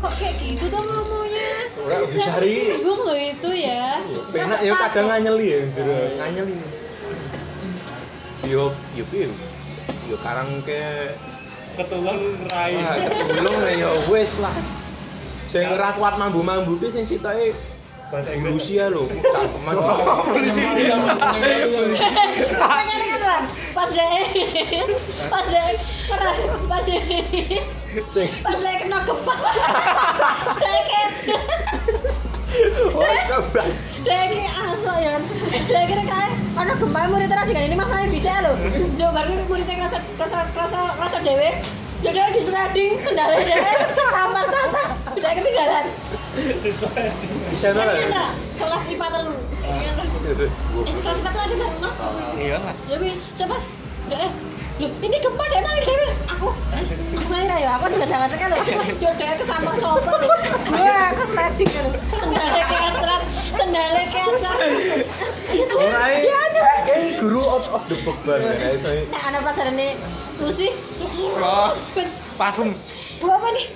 S4: Kok kayak gitu tuh ngomongnya?
S1: Ora
S4: Saya
S1: bisa ri.
S4: tersinggung loh itu ya.
S1: Penak ya
S4: Kenapa
S1: kadang
S4: takut?
S1: nganyeli ya jero. Nganyeli. Yo yo piye? Yo karang ke
S2: Ketulan rai.
S1: Wah, ketulung lah, ya wis lah. Sing ora kuat mambu-mambu ki sing sitoke
S2: Bahasa Inggris.
S1: Rusia lho, cangkeman.
S6: Iya.
S4: Makanya kan Ran, pas dia pas dia Ran, pas dia
S1: Sing
S4: pas dia kena gempa. Dia kayak-
S1: ora kebas.
S4: dia kayak asok ya. Dia kira kayak ono gempa murid terus dengan ini maknanya bisa lho. Jo baru ini muridnya kerasa kerasa kerasa kerasa dewe. Ya dia di sliding sendalnya dia kesampar sasa. Dia ketinggalan.
S1: Bisa ora?
S4: Ini ada sekolah IPA terlalu. Eh, sekolah IPA terlalu ada bareng apa?
S6: Iya lah.
S4: ya gue siapa deh eh. Loh, ini gempa deh mari deh aku aku lahir ya aku juga jangan tekan loh yo deh aku sama sopo loh gue aku standing loh sendalnya keceret sendalnya keceret
S1: Ora e.
S4: ya tuh
S1: Eh, guru out of the box banget ya iso.
S4: nah anak pelajaran ini susi susi ben
S6: Parfum.
S4: bu apa nih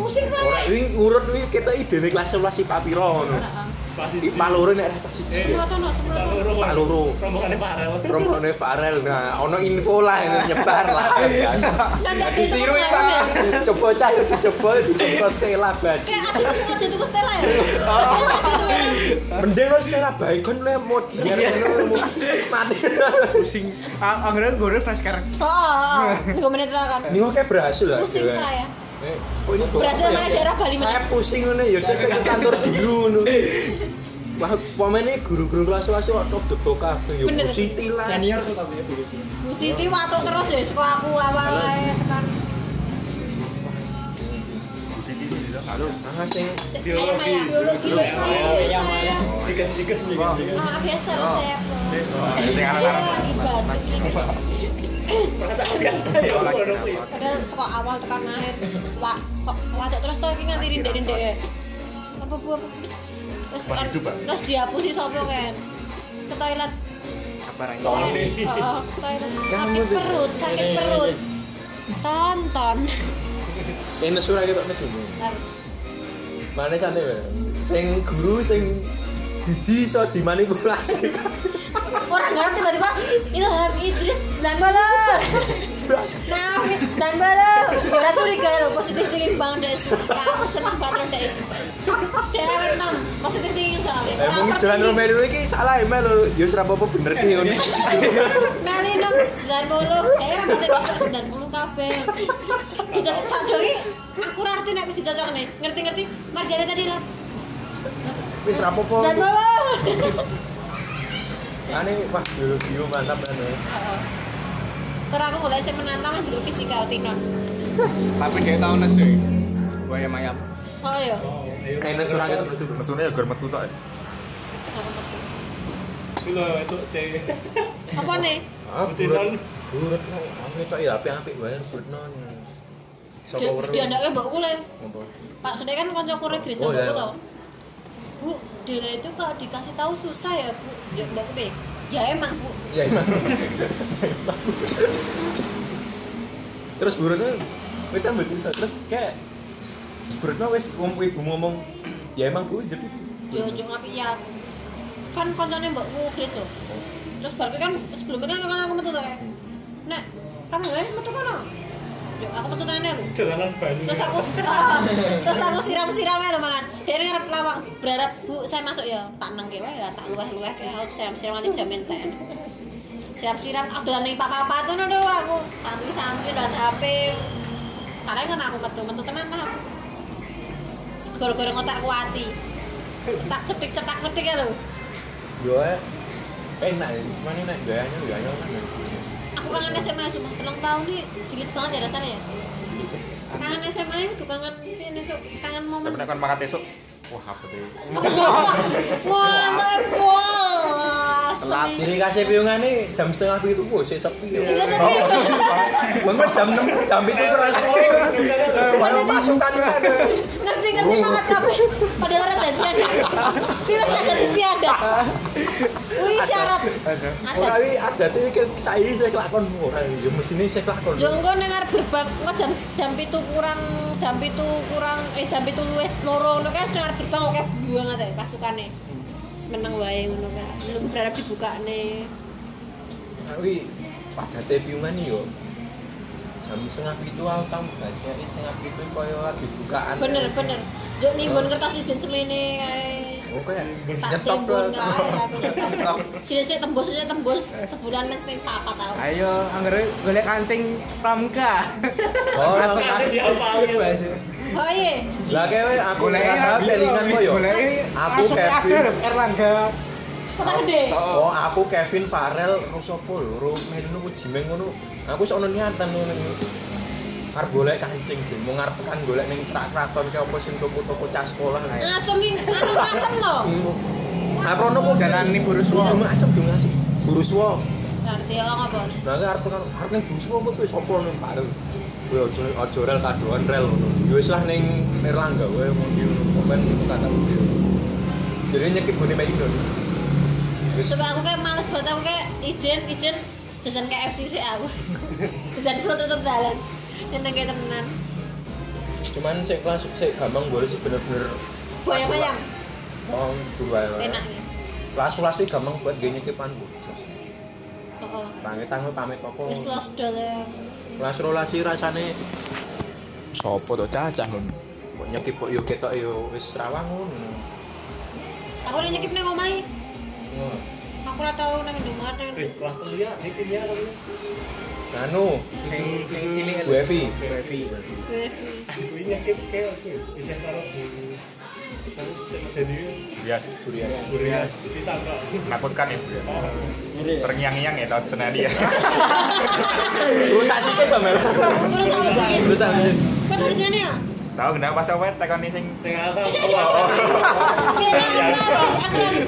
S4: pusing
S1: Ora
S4: saya
S1: wing ngurut wing kita idene kelas 11 IPA piro ngono. IPA loro nek ora siji.
S4: semua tuh no semua tuh.
S1: Pak Loro.
S2: Rombongannya parah.
S1: Rombone Farel nah ono info lah yang nyebar lah
S4: Nanti ada itu
S1: ditiru ya
S4: pengaruhnya.
S1: coba cah dicoba dicoba Stella
S4: kayak
S1: baji
S4: ada yang sengaja tuku stella ya Kayak gitu, orang.
S1: mending lo Stella baik kan lo mau dia lo mati
S6: Pusing. Ah, Anggrek gue fresh sekarang.
S4: oh oh, oh. tiga menit lah kan
S1: ini kok kayak berhasil lah
S4: pusing saya
S1: Eh, kok ini kok
S4: Berhasil
S1: apa ya?
S4: mana daerah Bali,
S1: saya pusing ngono ya udah saya ke kantor dulu ngono Wah, pemainnya guru-guru kelas kelas out of the box kabeh. ya
S4: Bener.
S1: Siti lah.
S5: senior tuh tapi ya Bu Siti.
S4: Bu Siti watuk terus ya sekolah aku awal-awalnya tekan
S1: Tangas sing
S4: Se- ayam ayam biologi ayam ayam
S2: Sikat-sikat nih.
S4: ah biasa lah saya saya lagi batuk ini
S2: Perasaan biasa ya. bodoh, ya.
S4: padahal sekolah awal tekan akhir wak tok watuk terus tuh ini nganti rindek-rindek ya. apa bu apa terus kan terus dihapusi sopo kan Terus ke toilet
S6: Kabarnya.
S4: Saya- oh, ke toilet sakit perut sakit perut tonton
S1: ini surah ketok nesu. Mana santai wae. Sing guru sing biji iso dimanipulasi.
S4: orang garap tiba-tiba Ilham Idris sedang balap maaf ya, sedang balap gara curiga ya lo positif thinking banget deh aku seneng patron deh deh awet nom positif thinking soalnya
S1: Eh, mungkin jalan
S4: Orang
S1: Romelu iki salah emel lho. Ya wis apa bener ki ngono.
S4: Meli dong, 90 Eh, emang kita cocok 90 kabeh Dicocok sadar ini Aku ora ngerti nek wis dicocok nih Ngerti-ngerti, margane tadi lah
S1: Wis ra apa-apa.
S4: 90
S1: Ane wah biologi yo mantap ane.
S4: Terus aku mulai sing menantang njeluk fisika utinon.
S6: Tapi dia tau nes sih. Gue yang mayam.
S4: Oh iya.
S1: Enak surah kita metu.
S7: Mesune ya gor metu tok. ya.
S4: Aku
S2: Itu
S4: ngerti.
S2: loh, itu cewek.
S4: Apa nih?
S1: Ah,
S2: Putih
S1: buret.
S2: non.
S1: Buret no. Aku itu ya apik-apik bayar buret non. Sapa weruh?
S4: Dia ndake mbokku le.
S1: Apa?
S4: Pak Gede kan kanca kure gereja
S1: Oh,
S4: mbokku
S1: iya.
S4: tau. Bu, Dela itu kalau dikasih tahu susah ya, Bu. Ya mbokku be. Ya emang, Bu.
S1: Ya emang. Terus buretnya kita mbok cerita terus kayak buretnya wis wong ibu ngomong ya emang bu jadi
S4: Ya
S1: Iya.
S4: ojo ngapik ya. aku. Kan kancane mbokku gereja. gitu. Terus bar kuwi kan sebelumnya kan kan aku metu to kayak. Nek, kamu wae metu kono. Ya aku metu tenan lho.
S2: Jalanan banyu.
S4: terus aku ah, terus aku siram siram ya malah dia ngarep lawang berharap bu saya masuk ya tak nang kewe ya tak luah luah ya aku siram siram nanti jamin saya siram siram aku dan pak papa tuh nodo aku santri santri dan hp karena kan aku metu metu tenan lah gara-gara ngotakku aci cetak cetik cetak cetik ya lho
S1: yo eh, enak ya cuma ini nek gayanya gayanya kan
S4: aku kangen SMA semua telung tahun nih jilid banget ya rasanya ya kangen SMA itu kangen ini cuk kangen momen
S7: Tapi nek kon makan esuk, wah apa deh.
S4: Wah, bos.
S1: telat kan? ciri kasih piungan nih jam setengah itu bu sih sepi ya.
S4: Bisa sepi.
S1: Bangun jam 6 jam itu terasa Baru masukan kan.
S4: Ngerti ngerti banget kabeh. Padahal orang janjian. Kita adat istiadat. Wih syarat. Adat.
S1: Ora iki adate iki saiki saya kelakon ora ya mesine saya kelakon.
S4: Yo engko dengar berbak engko jam jam 7 kurang jam 7 kurang eh jam 7 luwih loro ngono kae dengar berbang oke buang ate pasukane. Semeneng wae ngono kae. Belum berharap dibukane.
S1: Tapi adate piungan iki yo jam setengah itu aku tau baca eh, setengah itu koyo lagi bukaan.
S4: Bener bener. Jo nimbun kertas ijen semene kae.
S1: Oke.
S4: tak
S1: Nyetok
S4: timbun
S1: ke-
S4: kae aku nyetok. Sini-sini tembus sini tembus sebulan men seming papa tau
S6: Ayo, anggernya golek kancing pramuka.
S1: Oh,
S6: Masuk
S2: Ada
S6: masuk.
S2: di apa
S4: oh iya
S1: lah kowe aku
S6: Golek
S1: ngerasa kelingan koyo.
S6: Golek
S1: Aku Kevin.
S6: Erlangga.
S4: kota gede
S1: Oh, aku Kevin Farel Rusopo loro melu ku jimeng ngono. Aku wis ana niatan ngono. Arep golek kancing, Jim. mau ngarep tekan golek ning cerak kraton ke apa sing toko-toko cah sekolah ae.
S4: asem ing anu asem to
S1: Arep ono kok
S6: Jalan ini Buruswo.
S1: Cuma asem yo ngasih. Buruswo.
S4: ngerti ya apa
S1: Nah, aku arep tekan arep ning Buruswo kok wis apa ning Farel. Kowe aja aja rel kadoan rel ngono. Ya wis lah ning Erlangga wae ngono komen kata. Jadi nyekip gone main Indonesia. Wis
S4: coba aku kayak males banget aku kayak ijen ijen jajan KFC sih ah, aku jajan perut tutup dalan tenang kayak temenan
S1: cuman saya kelas saya gampang boleh sih bener-bener
S4: bayang-bayang
S1: oh dua
S4: enak ya
S1: kelas kelas sih gampang buat gini kipan bu
S4: oh oh.
S1: tangi tangi pamit toko
S4: wis lost doll ya
S1: kelas rolas sih rasane sopo tuh cacah lho kok nyekip kok yuk ketok yuk wis rawang ngono
S4: aku udah nyekip neng omai
S1: Ngono.
S4: aku udah tau neng rumah neng
S2: Eh, kelas tuh ya, ini kimia apa ini?
S1: anu
S6: Sing sing cilik.
S1: Bu Evi
S4: KFC
S2: Gue nyakit kayak oke, bisa taruh di Taruh, sama jadi
S7: Bias.
S2: ya? Burias, bisa kok
S7: Menakutkan ya, Bu. ya.
S2: Oh,
S10: Mirip.
S7: Terngiang-ngiang ya tahun Senin ya.
S1: terus asiknya sama lho
S4: terus apa sih
S1: terus asiknya
S4: kau tuh di sini ya
S7: Tahu kenapa pas awet tekoni sing
S2: saya ngasal
S4: Biar aku aku lagi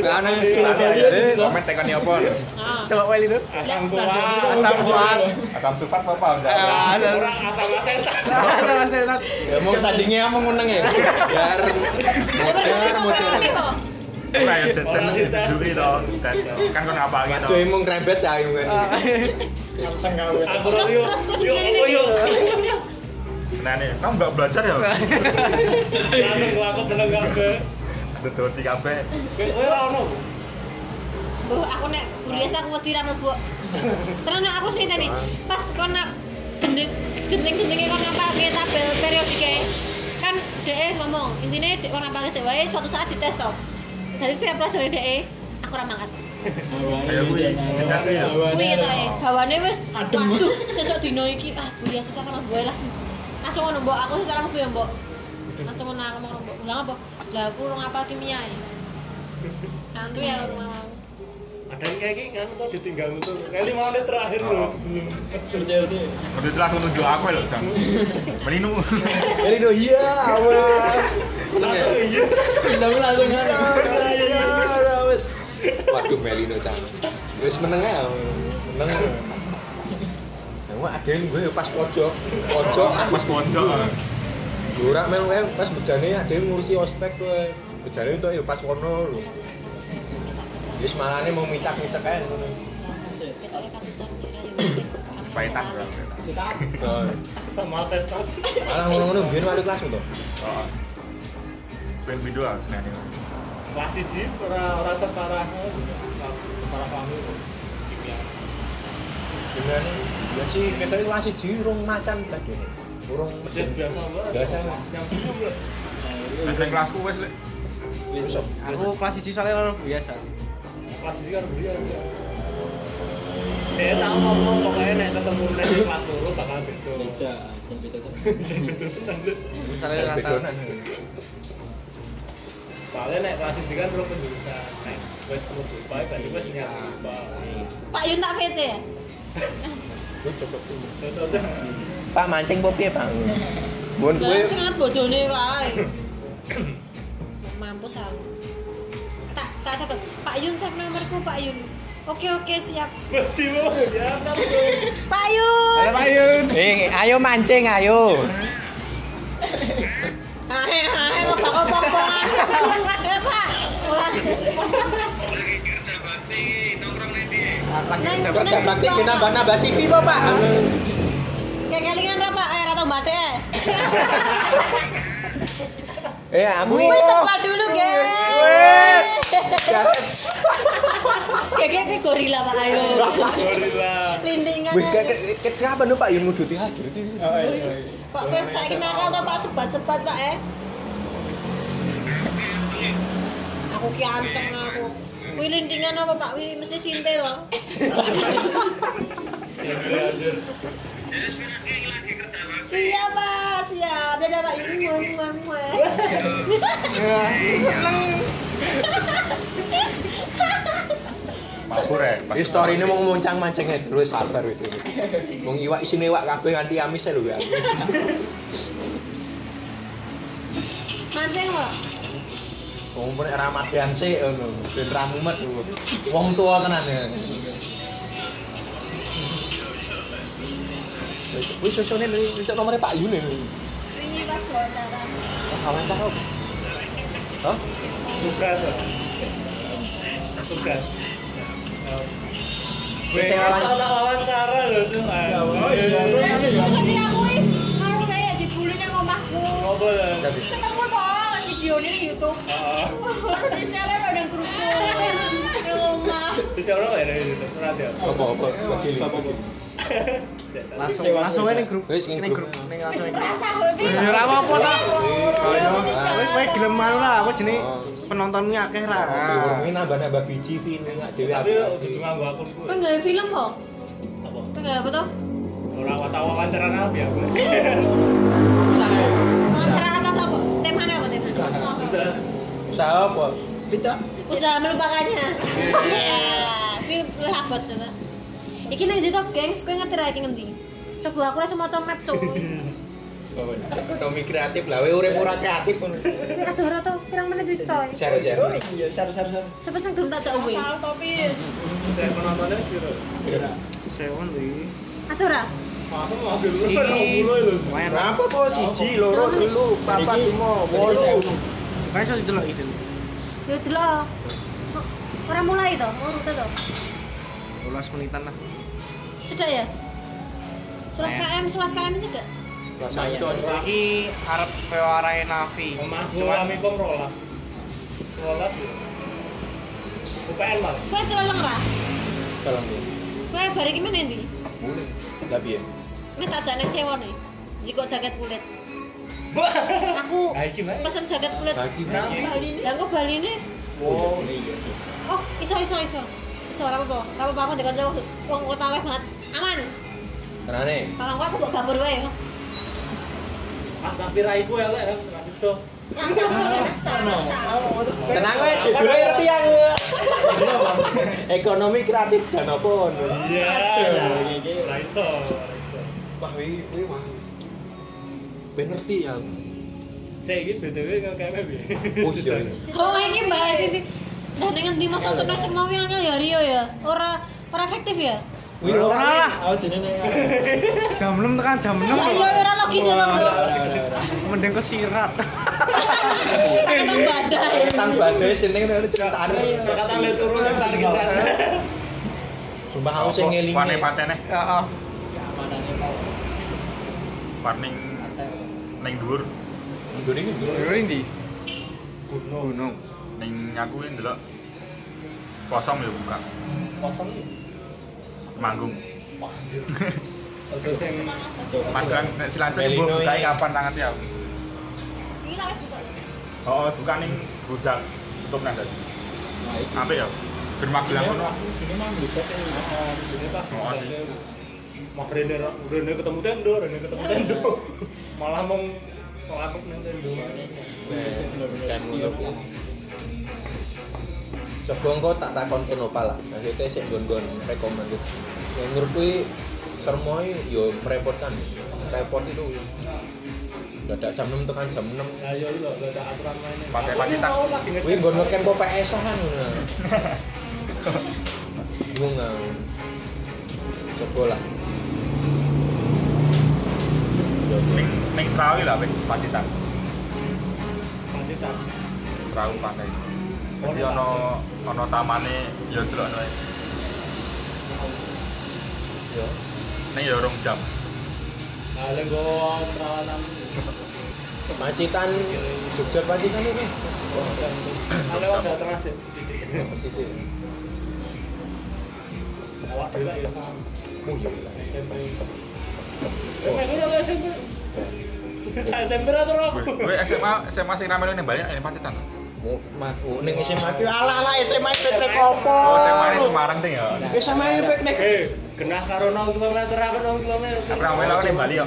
S4: biar
S1: karena
S7: Komen tekoni apa?
S4: ah
S6: Coba wae itu.
S2: Asam kuat
S6: Asam kuat.
S7: Asam sulfat apa paham saya?
S6: Ah, ada-
S2: Kurang asam asetat
S6: ada Mas Renat.
S1: ya mau sandingnya mau nguneng ya biar
S4: Ya berkali
S1: biar
S4: kok
S1: mau
S4: rame kok.
S7: Ora ya jajan dulu itu. Tes. Kan kon apa gitu.
S1: Aduh, emang krempet ya, ayo kan.
S2: Aku
S4: Terus
S2: yuk
S4: terus gue di
S2: Yuk,
S4: sini
S2: oh, yuk
S7: Senin ya. Kamu enggak belajar ya?
S2: Langsung aku menengah ke
S7: Sedot di kabeh.
S2: Gue lah ono
S4: Bu, aku nek biasa aku wedi ra mlebu. Terus nek aku cerita nih, pas kon nak gendeng gendeng-gendenge kon ngapake tabel periodik e. Kan dhek ngomong, intine dhek kon ngapake sik wae suatu saat dites to. Jadi saya pelajaran dhek e, aku ra mangkat.
S7: Kayak gue ngegas gitu.
S4: Kuwi to e, hawane wis waduh, sesuk dino iki ah biasa sesuk karo gue lah. Langsung ngono mbok, aku sesuk karo gue ya, mbok. Langsung ngono aku mau mbok. Lah apa? Lah aku ora ngapal kimia e. Santu ya rumah aku.
S2: ada yang kayak gini kan tuh ditinggal tuh kayak lima menit terakhir loh sebelum
S7: Tapi itu langsung nunjuk aku ya, loh, Jang. Meninu.
S3: Jadi do iya, awal.
S2: langsung iya
S5: Tapi langsung kan.
S1: Waduh Melino cang. Wis meneng ae. Meneng. Yang mah ada yang gue ya pas pojok, pojok
S7: Mas Ponco.
S1: Ora mel kowe pas bejane ada yang ngurusi ospek kowe. Bejane itu ya pas kono lho. Wis malane mau micak-micak ae ngono.
S7: Paitan bro.
S1: Oh,
S2: sama setan
S1: Malah ngono-ngono biyen wali kelas ngono.
S7: Ben video Oh. ah, senengnya.
S2: kelas siji ora ora separah eh, separah kamu kimia
S1: Jenenge ya sih ketok kelas 1 urung macan tadi. Urung
S2: mesin biasa banget
S1: Biasa.
S2: yang sini bro
S7: Nah, neng kelasku wes lek.
S6: Aku kelas 1 soalnya orang biasa.
S2: kelas siji kan dia eh tak ngomong pokoknya nek ketemu nek di kelas loro bakal beda
S5: Beda, jam beda tuh.
S6: Misalnya rata.
S2: soalnya nek kelas siji kan terus penjurusan nek wes mau berubah berarti wes niat berubah
S4: Pak Yun tak VC ya?
S2: cocok
S1: Pak mancing po piye, Pak? Mun
S4: Lah sing ngat bojone kok ae. Mampus aku. Tak tak catet. Pak Yun save nomorku Pak Yun. Oke oke siap.
S2: berarti mau ya kan bro
S4: Pak Yun.
S6: Ayo Pak Yun.
S3: Eh, ayo mancing, ayo.
S4: Hae hae kok bakal pokok-pokokan. Ya, Pak. Ulang. Neng,
S3: Kerja
S4: neng,
S3: bakti
S4: Pak.
S3: ki nambah-nambah CV po, Pak.
S4: Kayak kelingan ra Pak? Eh ra tau batik. eh.
S3: Eh, aku
S4: Wih
S6: Iya.
S1: Oh,
S4: sebelah dulu, guys.
S3: Karet.
S4: Kayak kayak gorila Pak Ayo.
S2: gorila
S4: Lindingan.
S3: Wih,
S4: aja.
S3: kayak kenapa
S1: Ya,
S3: no Pak yang nguduti lagi itu?
S4: Kok kowe saiki nakal to Pak sebat-sebat Pak eh? Aku ki anteng aku. Kuwi lindingan apa Pak? Kuwi mesti sinte to. Siap Pak, siap. Dadah Pak ini muang muang muang.
S7: Mabur ya. pas-
S1: Histori ini mau muncang mancing aja dulu sabar itu. Mau iwak isine iwak kabeh nganti amis lho ya.
S4: Mancing Pak.
S1: Wong pun era madian sik ngono, ben ra mumet lho. Wong tua tenan ya. Wis sosone lho, itu nomornya Pak Yun lho.
S4: Ini pas wawancara.
S1: Wah, Wawancara apa? Hah?
S2: tugas ya. tugas
S1: Wes
S2: Wes,
S1: saya wawancara.
S2: anak wawancara loh tuh oh iya
S4: Tapi aku ini harus saya dibully nang omahku.
S2: ngobrol ya.
S4: Ketemu toh video ini di YouTube.
S2: Ah,
S4: Di seller ada kerupuk. Di rumah.
S2: bisa orang nggak ya dari situ? Nanti ya
S1: Apa apa?
S4: iya.
S1: Begini.
S6: Langsung langsung ae ning grup.
S1: Wis ning
S6: Ning
S1: grup.
S6: grup. Ning langsung ning grup.
S4: Rasa hobi.
S6: Ya ora apa-apa ta.
S1: Ah.
S4: Iya,
S6: Kowe kowe gelem anu lah, apa jenenge
S1: Oh.
S6: penontonmu akeh ra.
S1: Wong ini nambah-nambah biji Vin, nggak dewe
S2: tapi udah
S1: ati-ati.
S2: cuma gua akun gue
S4: Penggawe film kok.
S2: apa
S4: Penggawe apa toh?
S2: orang tahu wawancara nabi aku
S4: Wawancara atas apa? Temanya apa tema?
S2: bisa
S1: Usaha apa?
S4: Usaha melupakannya. Iya. Kuwi luwih abot to, Pak. Iki nang ndi to, gengs? Kowe ngerti ra iki ngendi? Coba aku rasa maca map, Cuk.
S1: Ekonomi kreatif lah, we urip ora kreatif ngono.
S4: Aduh, ora to, pirang menit wis coy.
S1: Jar-jar.
S5: iya, saru saru saru.
S4: Sapa sing durung tak jak kuwi?
S2: saya penontonnya kira
S6: Sewon kuwi.
S4: Aduh ora.
S2: langsung mau ambil dulu orang mulai loh
S1: Berapa po siji, loro, telu, papat, lima, wolu.
S6: Kae iso didelok iki.
S4: Ya delok. Kok Ora mulai to, urute to.
S6: 12 menitan lah.
S4: Cedak ya? Sulas KM, sulas KM cedak.
S1: Rasanya.
S6: Iki arep koyo arahe Navi.
S2: omah cuma
S6: Cuma
S2: amikom rolas rolas ya UPN malah
S4: Kowe celeleng ra?
S1: Tolong ya.
S4: Kowe bar iki meneh ndi?
S1: Lah piye?
S4: Wis tak jane sewone. Jiko jaket kulit. Aku
S2: Nah, iki, Mbak. Nah,
S4: pesen jaket kulit.
S1: Bagi
S4: Bali ini. Lah kok Bali ini?
S2: wow
S4: Oh, iso iso iso. Iso ora apa-apa. Ora apa-apa aku ndek kanca wong- wong kota wae banget. Aman.
S1: Terane.
S4: Kalau enggak aku mbok gambar wae.
S2: ah tapi raiku elek ya nggak situ
S4: Rasa, rasa, rasa.
S1: Tenang wae, judulnya ngerti aku. Ekonomi kreatif dan apa ngono.
S2: Iya. Ra iso. ra iso.
S1: Wah, wingi kuwi wah. Ben ngerti ya.
S2: Saya ini BTW kok kayak piye?
S1: Oh iya. iya.
S4: Oh, ini bahas ini. Dan dengan di masa sudah semua yang ya Rio ya. Ora ora efektif ya?
S1: Wih,
S6: Ora lah.
S2: Oh,
S5: Aku dene nek
S6: Jam 6 tekan jam 6
S4: Lah iya
S6: kok.
S4: ora logis ngono, Bro.
S1: ya,
S6: Mending kesirat.
S4: Pakai tong badai.
S1: Sang badai sini kan ada ceritaan.
S2: Sekarang tanggal turun yang paling kita.
S1: Iya, Sumpah aku sing ngelingi.
S7: Warning pateneh,
S6: Heeh.
S5: keamanannya mau
S7: warning ning dhuwur,
S6: Lho ndi? Gunung. Gunung.
S7: ning aku iki ndelok kosong ya buka.
S5: kosong
S7: Manggung.
S5: ojo sing
S7: Magelang nek Silancar
S1: Melino
S7: mbok bukae
S1: ini.
S7: kapan tangan ya?
S4: Ini tak wis buka.
S7: Oh, buka ning gudang tutup nang dadi. Apik ya? Ben Magelang ngono.
S5: ini mah gitu kan
S2: Jadi pas
S7: Oh, sih.
S2: Mas Rene, Rene ketemu Tendo, Rene ketemu Tendo. Malah mau ngelakuk nang Tendo.
S1: Dan ngono. iya. Coba engko tak takon kenapa lah. Maksudnya sik nggon-nggon Ya, rekomendasi. Yang menurut kuwi sermoi yo merepotkan. Repot itu. Dadak jam 6 tekan jam 6.
S2: Ayo lho, gak ada aturan mainnya.
S7: Pakai
S2: Aku
S7: pakai
S2: ini
S7: tak.
S2: mau lagi ngecek.
S1: Wih, gue ngecamp kok PS-an Gue nggak Coba lah
S7: Ning ning Srawi lah apik, pasti tak.
S2: Nanti tak.
S7: Serawu pantai.
S2: Oh,
S7: Jadi
S2: iya.
S7: ono ono tamane ya delokno ae.
S2: Iya.
S1: Yo.
S7: Ning ya rong jam.
S2: Nah, lha gua perawatan.
S1: Pacitan Jogja Pacitan itu
S2: Nah, lewat Jawa Tengah sih. sedikit.
S1: Positif
S2: Awak dhewe lah ya setengah
S1: Oh iya lah
S2: SMP. Nah, ini lho SMP. Saya SMP atau aku?
S7: Kowe SMA SMA sing rame ning banyak ini Pacitan.
S1: Mau matu Neng SMA ku Alah alah SMA PP kopo
S7: Oh, SMA ning Semarang ting ya.
S1: SMA piknik
S2: Hei, genah karo 0 kilometer, aku 0 kilometer.
S7: Tapi rame lah ning Bali ya.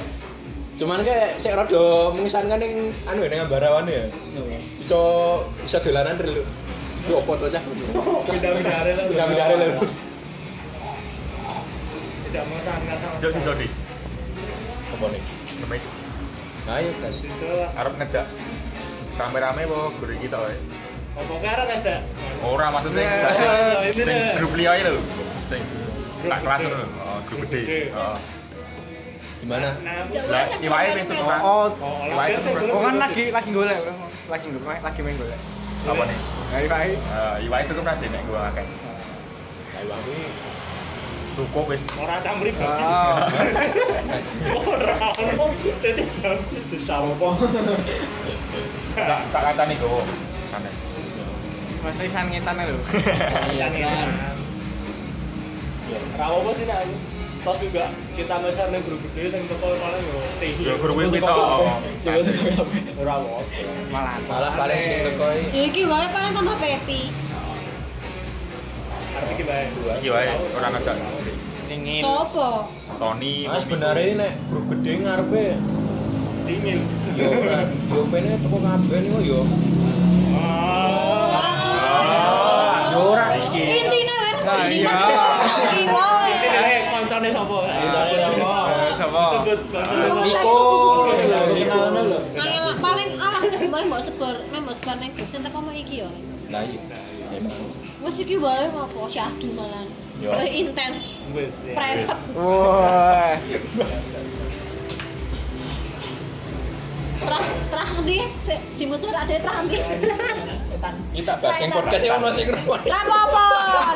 S1: Cuman kayak Saya rada mengesankan yang Anu ya Yang ambarawan ya Bisa Bisa dolanan dulu Itu apa tuh cah
S2: Pindah-pindah lho.
S1: Pindah-pindah lho
S2: Tidak mau sangat sama.
S7: Jauh sih Dodi.
S1: Apa nih
S7: Kemis
S1: Ayo guys
S2: Situ lah.
S7: arep ngejak rame-rame po guru iki tok. ae.
S2: Apa karo kan, Cak?
S7: Ora maksudnya
S2: Nah,
S7: ngejak
S2: nah,
S7: sing-
S2: ini
S7: sing
S2: dah.
S7: grup liya lho. Sing sak kelas
S2: gede.
S7: lho. Oh, grup
S2: Grup gede.
S7: gede. Heeh.
S1: Gimana
S2: Nah, aku-
S7: Lah, iwae ping tuturan.
S6: Oh,
S2: Oh,
S7: Wah,
S2: latihan
S7: itu
S2: sih,
S7: berat.
S2: belum
S6: oh kan
S2: lulus sih.
S6: lagi lagi golek, lagi golek, lagi main golek.
S7: Apa nih?
S6: Ayo, ayo.
S7: Eh, iwae tutup nanti nek gua akeh.
S1: Ayo aku
S7: Cukup wis.
S2: Orang camri bagi.
S6: Oh.
S2: Ora ono. Dadi bagi disampo.
S7: Tak tak kantani gowo. Santai.
S6: Mas Isan ngetan lho.
S2: Jangan. Ra apa sih nak. Toh juga kita mesar ning grup gede sing teko paling yo tinggi.
S7: Ya guru kuwi tok.
S5: ora wae
S6: Malah.
S1: Malah paling sing teko iki
S4: Ya iki wae paling tambah pepi.
S2: Arep iki bae.
S1: dua.
S7: Iki wae ora ngejak.
S6: Dingin.
S4: Sopo?
S7: Tony.
S1: Nah sebenarnya ini nek grup gede ngarepe
S2: Dingin.
S1: yo ora yo pene teko kabeh niku yo.
S2: Ah.
S4: Ora cukup.
S7: Ah,
S1: Yo ora
S4: Intine wae rasa jadi
S6: Iya.
S4: mati wae.
S2: Iki dhewe koncone sapa?
S6: Sopo?
S2: Sebut koncone.
S4: Wong saya
S1: Niko.
S4: itu buku-buku.
S5: kenalane lho
S4: Nah, ya, Mak, paling alah mbok mbok sebar, nek mbok sebar ning grup sing teko mau iki ya.
S1: Lah iya.
S4: Wes iki wae apa syahdu malan.
S1: Yo.
S4: Lebih intens.
S2: Wes ya.
S4: Private.
S6: Wah.
S4: Terah terah ndi? Sik dimusuh ra dhek terah ndi?
S1: Kita bahas yang podcast e ono sing ngrungokne.
S4: Ra apa-apa.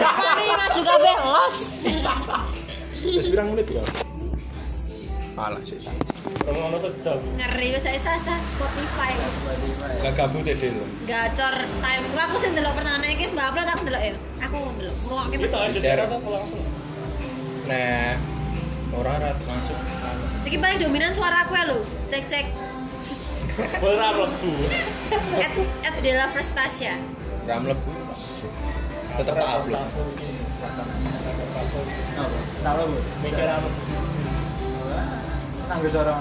S4: Ra kali maju kabeh los.
S1: Wis pirang menit ya? Alah sik.
S2: Ono sejam.
S4: Ngeri wis saya saja Spotify.
S1: Gak gabut ya Del.
S4: Gacor time. Gua aku sing ndelok pertandingan iki Mbak Upload aku ndelok ya. Aku ndelok. Ngrungokke
S2: Iki soal
S1: Share.
S2: jejer apa langsung?
S1: Nah, ora ora langsung.
S4: Iki paling dominan suara aku ya lho. Cek cek
S2: Ora mlebu.
S4: at at Della Frestasia.
S1: Ora mlebu. Tetep tak upload.
S5: tahu lho
S2: Mikir apa?
S5: tanggo soro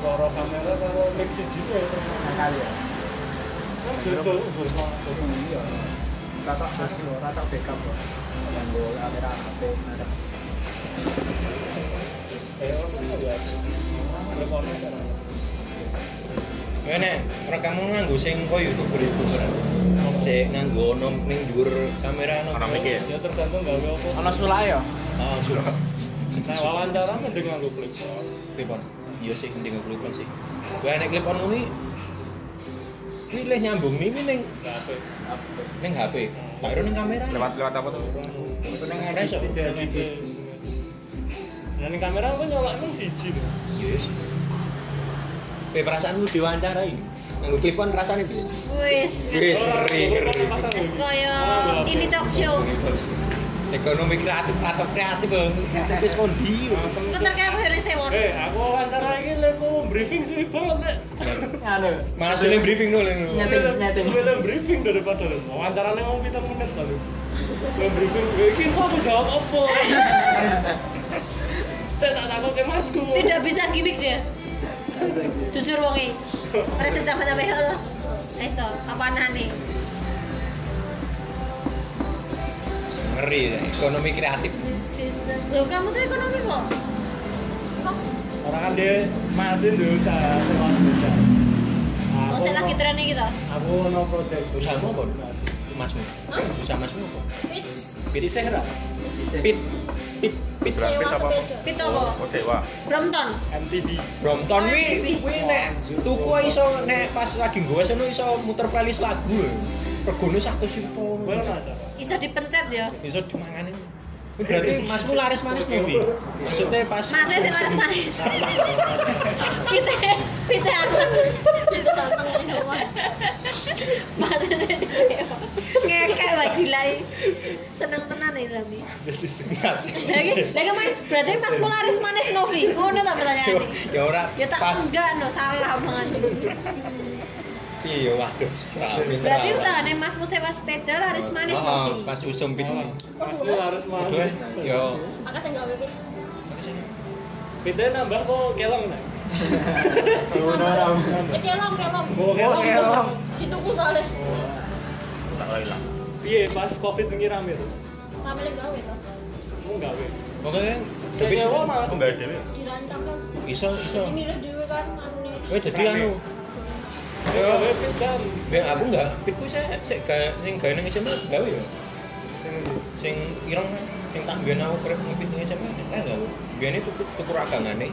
S2: Soro kamera karo mic siji wae.
S5: kali ya
S2: Betul, betul.
S11: Iya. Rata anu lho, rata backup lho. Kan lho kamera HP ngadep.
S2: Eh, apa ya? Lemon.
S1: Ngene, rekamu nganggo sing koyo iku boleh bocor. Cek nganggo nom ning dhuwur kamera nom.
S7: Ana mikir.
S2: Ya tergantung gawe apa.
S6: Ono sulak ya?
S1: Ah, sudah.
S2: Nah, wawancara mending nganggo klip.
S1: Clip on. Iya sih mending nganggo clip on sih. Kuwi nek clip on kuwi kuwi leh nyambung mimi ning
S2: Nah, apa?
S1: ning HP. Tak kira ning kamera.
S7: Lewat lewat apa tuh?
S1: ning kamera.
S2: Jadi Nah, ini kamera aku nyolaknya siji lho.
S1: Yes. Pe perasaanmu diwawancarai. Nganggo clip on rasane piye?
S4: Wis.
S1: Wis
S2: Orang
S1: ngeri
S2: dulu
S1: ngeri.
S2: kan pasang
S4: Wis
S2: dulu.
S4: koyo
S2: Ah,
S4: ini talk show.
S1: Ekonomi kreatif atau kreatif bang. Kreatif wis kondi.
S2: Langsung
S4: Kok
S2: tuh.
S4: terkaya aku ya, harus sewon.
S2: Eh, aku wawancara ini lepo briefing sih banget, Nek.
S11: Anu.
S1: Malah sini briefing dulu.
S11: Nyeting, nyeting.
S2: Sebelum briefing daripada lo. Wawancaranya mau kita menit kali. Sebelum briefing, gue ini kok aku jawab apa? Saya tak takut ke masku.
S4: Tidak bisa gimmick dia. Jujur wonge. Ora cerita kata bae lo. ya Iso, apa anane?
S1: Ngeri. ya. Ekonomi kreatif.
S4: Loh, kamu tuh ekonomi kok.
S2: Orang kan dia masih di usaha sewa sepeda.
S4: Oh,
S2: Aku-
S4: saya lagi trennya gitu.
S2: Aku no project.
S1: Usahamu apa? Masmu. Usaha masmu apa?
S2: Jadi saya nggak.
S1: Pit. Pit. Pit.
S4: Iya,
S7: Berarti apa?
S4: Pito kok.
S7: Oh, sewa.
S4: Brompton.
S2: MTD.
S1: Brompton
S4: Oh,
S1: wi
S4: TV.
S1: wi nek tuku ae iso nek pas lagi nggowo seno iso muter playlist lagu. ya. Regane 100 yuto.
S2: Gue nggak acara.
S4: Iso dipencet ya.
S1: Iso dimangani. Wi, Berarti masmu laris manis nih, Wi. Maksudnya pas
S4: Masih sing laris manis. Pite, pite aku. Masih sing di sewa. ngekek wajilai. Seneng tenan ya tapi.
S1: Jadi sengaja.
S4: Lagi, lagi main. Berarti Mas Mularis manis Novi. Ngono tak pertanyaane.
S1: Ya ora
S4: Ya tak
S1: pas
S4: enggak no salah banget.
S1: piye waduh. Rame,
S4: Berarti
S1: rame.
S4: usahane Mas sewa sepeda laris manis
S1: Oh,
S4: Novi.
S1: Pas usum pit.
S2: Mas lu harus mau.
S1: Terus yo
S3: Makasih nggak pipit.
S2: Pindah nambah kok kelong nih.
S4: Iya,
S3: Eh kelom kelom.
S2: Gue kelong kelong.
S3: Dituku soalnya.
S7: Tak hilang.
S2: Iya pas covid ini rame tuh.
S3: Ramai gawe tuh.
S2: Mau nggak gue?
S1: pokoknya
S2: Tapi
S1: tapi
S2: nyawa malah
S7: Aku nggak ada.
S3: Dirancang tuh.
S1: iso iso.
S3: Ini milih dulu kan anu
S1: Kowe dadi
S2: Rame.
S1: anu.
S2: Gue pindah.
S1: Ben aku enggak, pitku saya sik gawe sing gawe nang SMA gawe ya. Sing ireng sing tak biyen aku kerep ngepit nang SMA kan gawe. Biyen tuku tuku ragangane,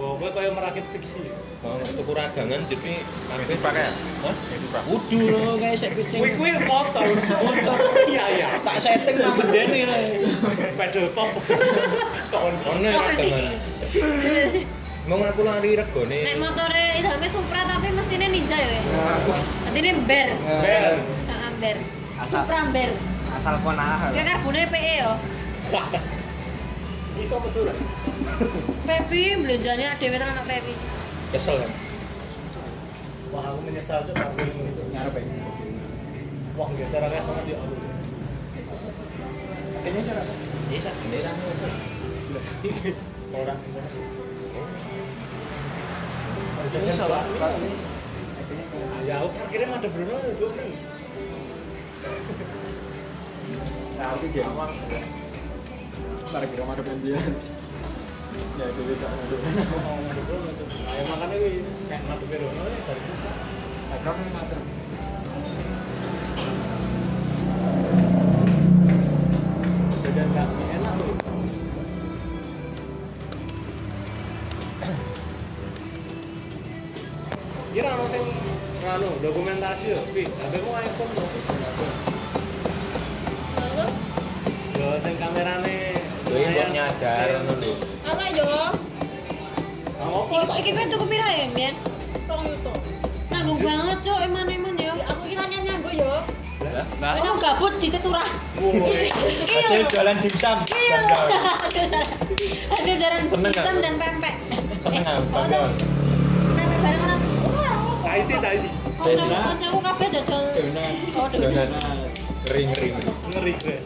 S1: Oh,
S2: Wah gue kayak merakit fiksi.
S1: mau tuku ragangan jadi
S7: Mesti pakai.
S1: Hah?
S7: Mesti pakai.
S1: Kudu lho kae sik kucing.
S2: Wih gue motor.
S3: Dạ,
S2: Motor. Iya iya.
S1: Tak setting nang bedene lho.
S2: Pedal pop. Kon.
S1: Ono ragangane. Mau aku lari regone.
S4: Nek motore idame Supra tapi mesinnya Ninja ya. Artinya ber.
S2: Bel.
S4: Heeh, ber. Supra ber.
S6: Eh, Asal konaah.
S4: Kayak karbone PE yo.
S2: Bisa betul.
S4: Pepi belanjane dhewe tenan anak Pepi.
S1: Kesel kan.
S2: Wah aku menyesal tuh aku ini.
S11: Ngarep ya.
S2: Wah biasa rame banget ya. Allah.
S11: Ini sih rata.
S1: Iya sak jendela.
S2: Orang.
S11: Ini salah.
S2: Ya aku akhirnya ada Bruno itu nih.
S11: Nah, aku jawab. Ntar kira ngadep yang dia. Ya itu bisa ngadep.
S2: Ya makanya gue kayak mati Bruno ya dari kita.
S11: Nah, kamu ngadep.
S2: Jajan jangan enak tuh. Kira ono sing nganu dokumentasi lho, Pi. Tapi mau iPhone lho.
S3: Terus
S2: Yo sing kamerane.
S1: Kuwi mbok nyadar ngono lho.
S3: apa yo?
S2: Kamu apa?
S4: Iki iki kowe tuku pira ya, Mian?
S3: Tong yuto.
S4: Nanggung banget cuk, eman-eman yo.
S3: Aku kira nyanyi gue yo.
S4: Kowe nang gabut diteturah. Skill.
S1: Jalan dimsum.
S4: Skill. Ada jaran
S1: Seneng
S4: hitam
S1: gak?
S4: dan pempek.
S1: Seneng
S4: oh, tuh.
S1: ah, bangga.
S4: Pempek bareng orang. Wah,
S2: IT IT.
S4: Kancaku kabeh dodol. Oh, dodol.
S1: Donat. Ring-ring.
S2: Ngeri gue.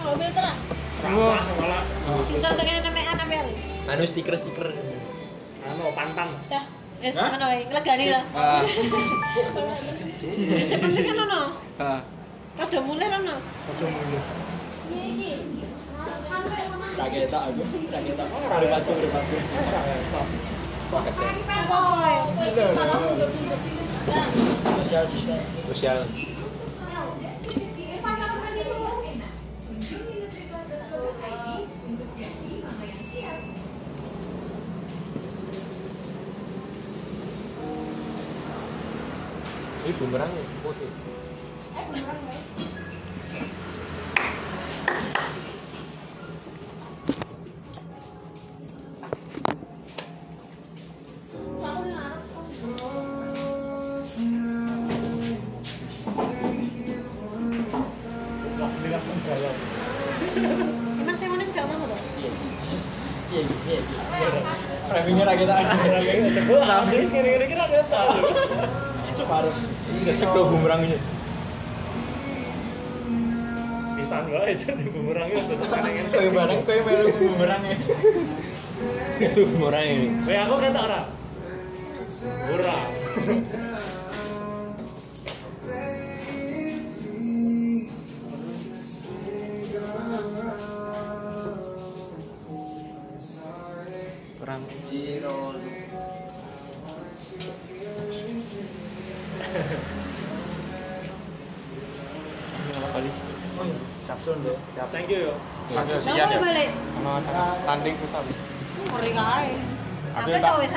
S3: Aku filter ah.
S2: Rasa malah
S4: Terus kene nemekan ambil.
S1: Anu stiker-stiker.
S2: anu pantang.
S3: Dah.
S4: Wis Ya, ngono ae, legani lah.
S6: Ah,
S4: Wis sing penting kan ono.
S6: ah.
S4: Padha mulih ono.
S12: Iki. Kan kowe ngono.
S5: Tak ketok aku, tak ketok. Oh, ora lewat tuh, lewat tuh. Ora ketok.
S12: Kowe iki malah mundur-mundur. Nah,
S5: Social distance.
S1: sosial ini bumerang putih
S12: aku ngarep kok.
S4: Emang sing ngono sudah omahmu to?
S5: Iya, iya, iya, iya. Framingnya ra ketok. Framingnya cekel. Langsung ngene-ngene kira ketok. Itu harus.
S2: Oh.
S1: kesek dong bumerangnya
S2: Pisan wae itu di bumerangnya tetep kanengen.
S5: Kayak barang kayak melu bumerang ya.
S1: itu bumerang ini
S2: Weh aku ketok ora? Ora.
S6: Kurang.
S2: Thank you yo.
S4: Nang
S7: Kasihan ya.
S4: balik.
S7: Tanding kita.
S4: Ngeri kae. Aku ya, tau wis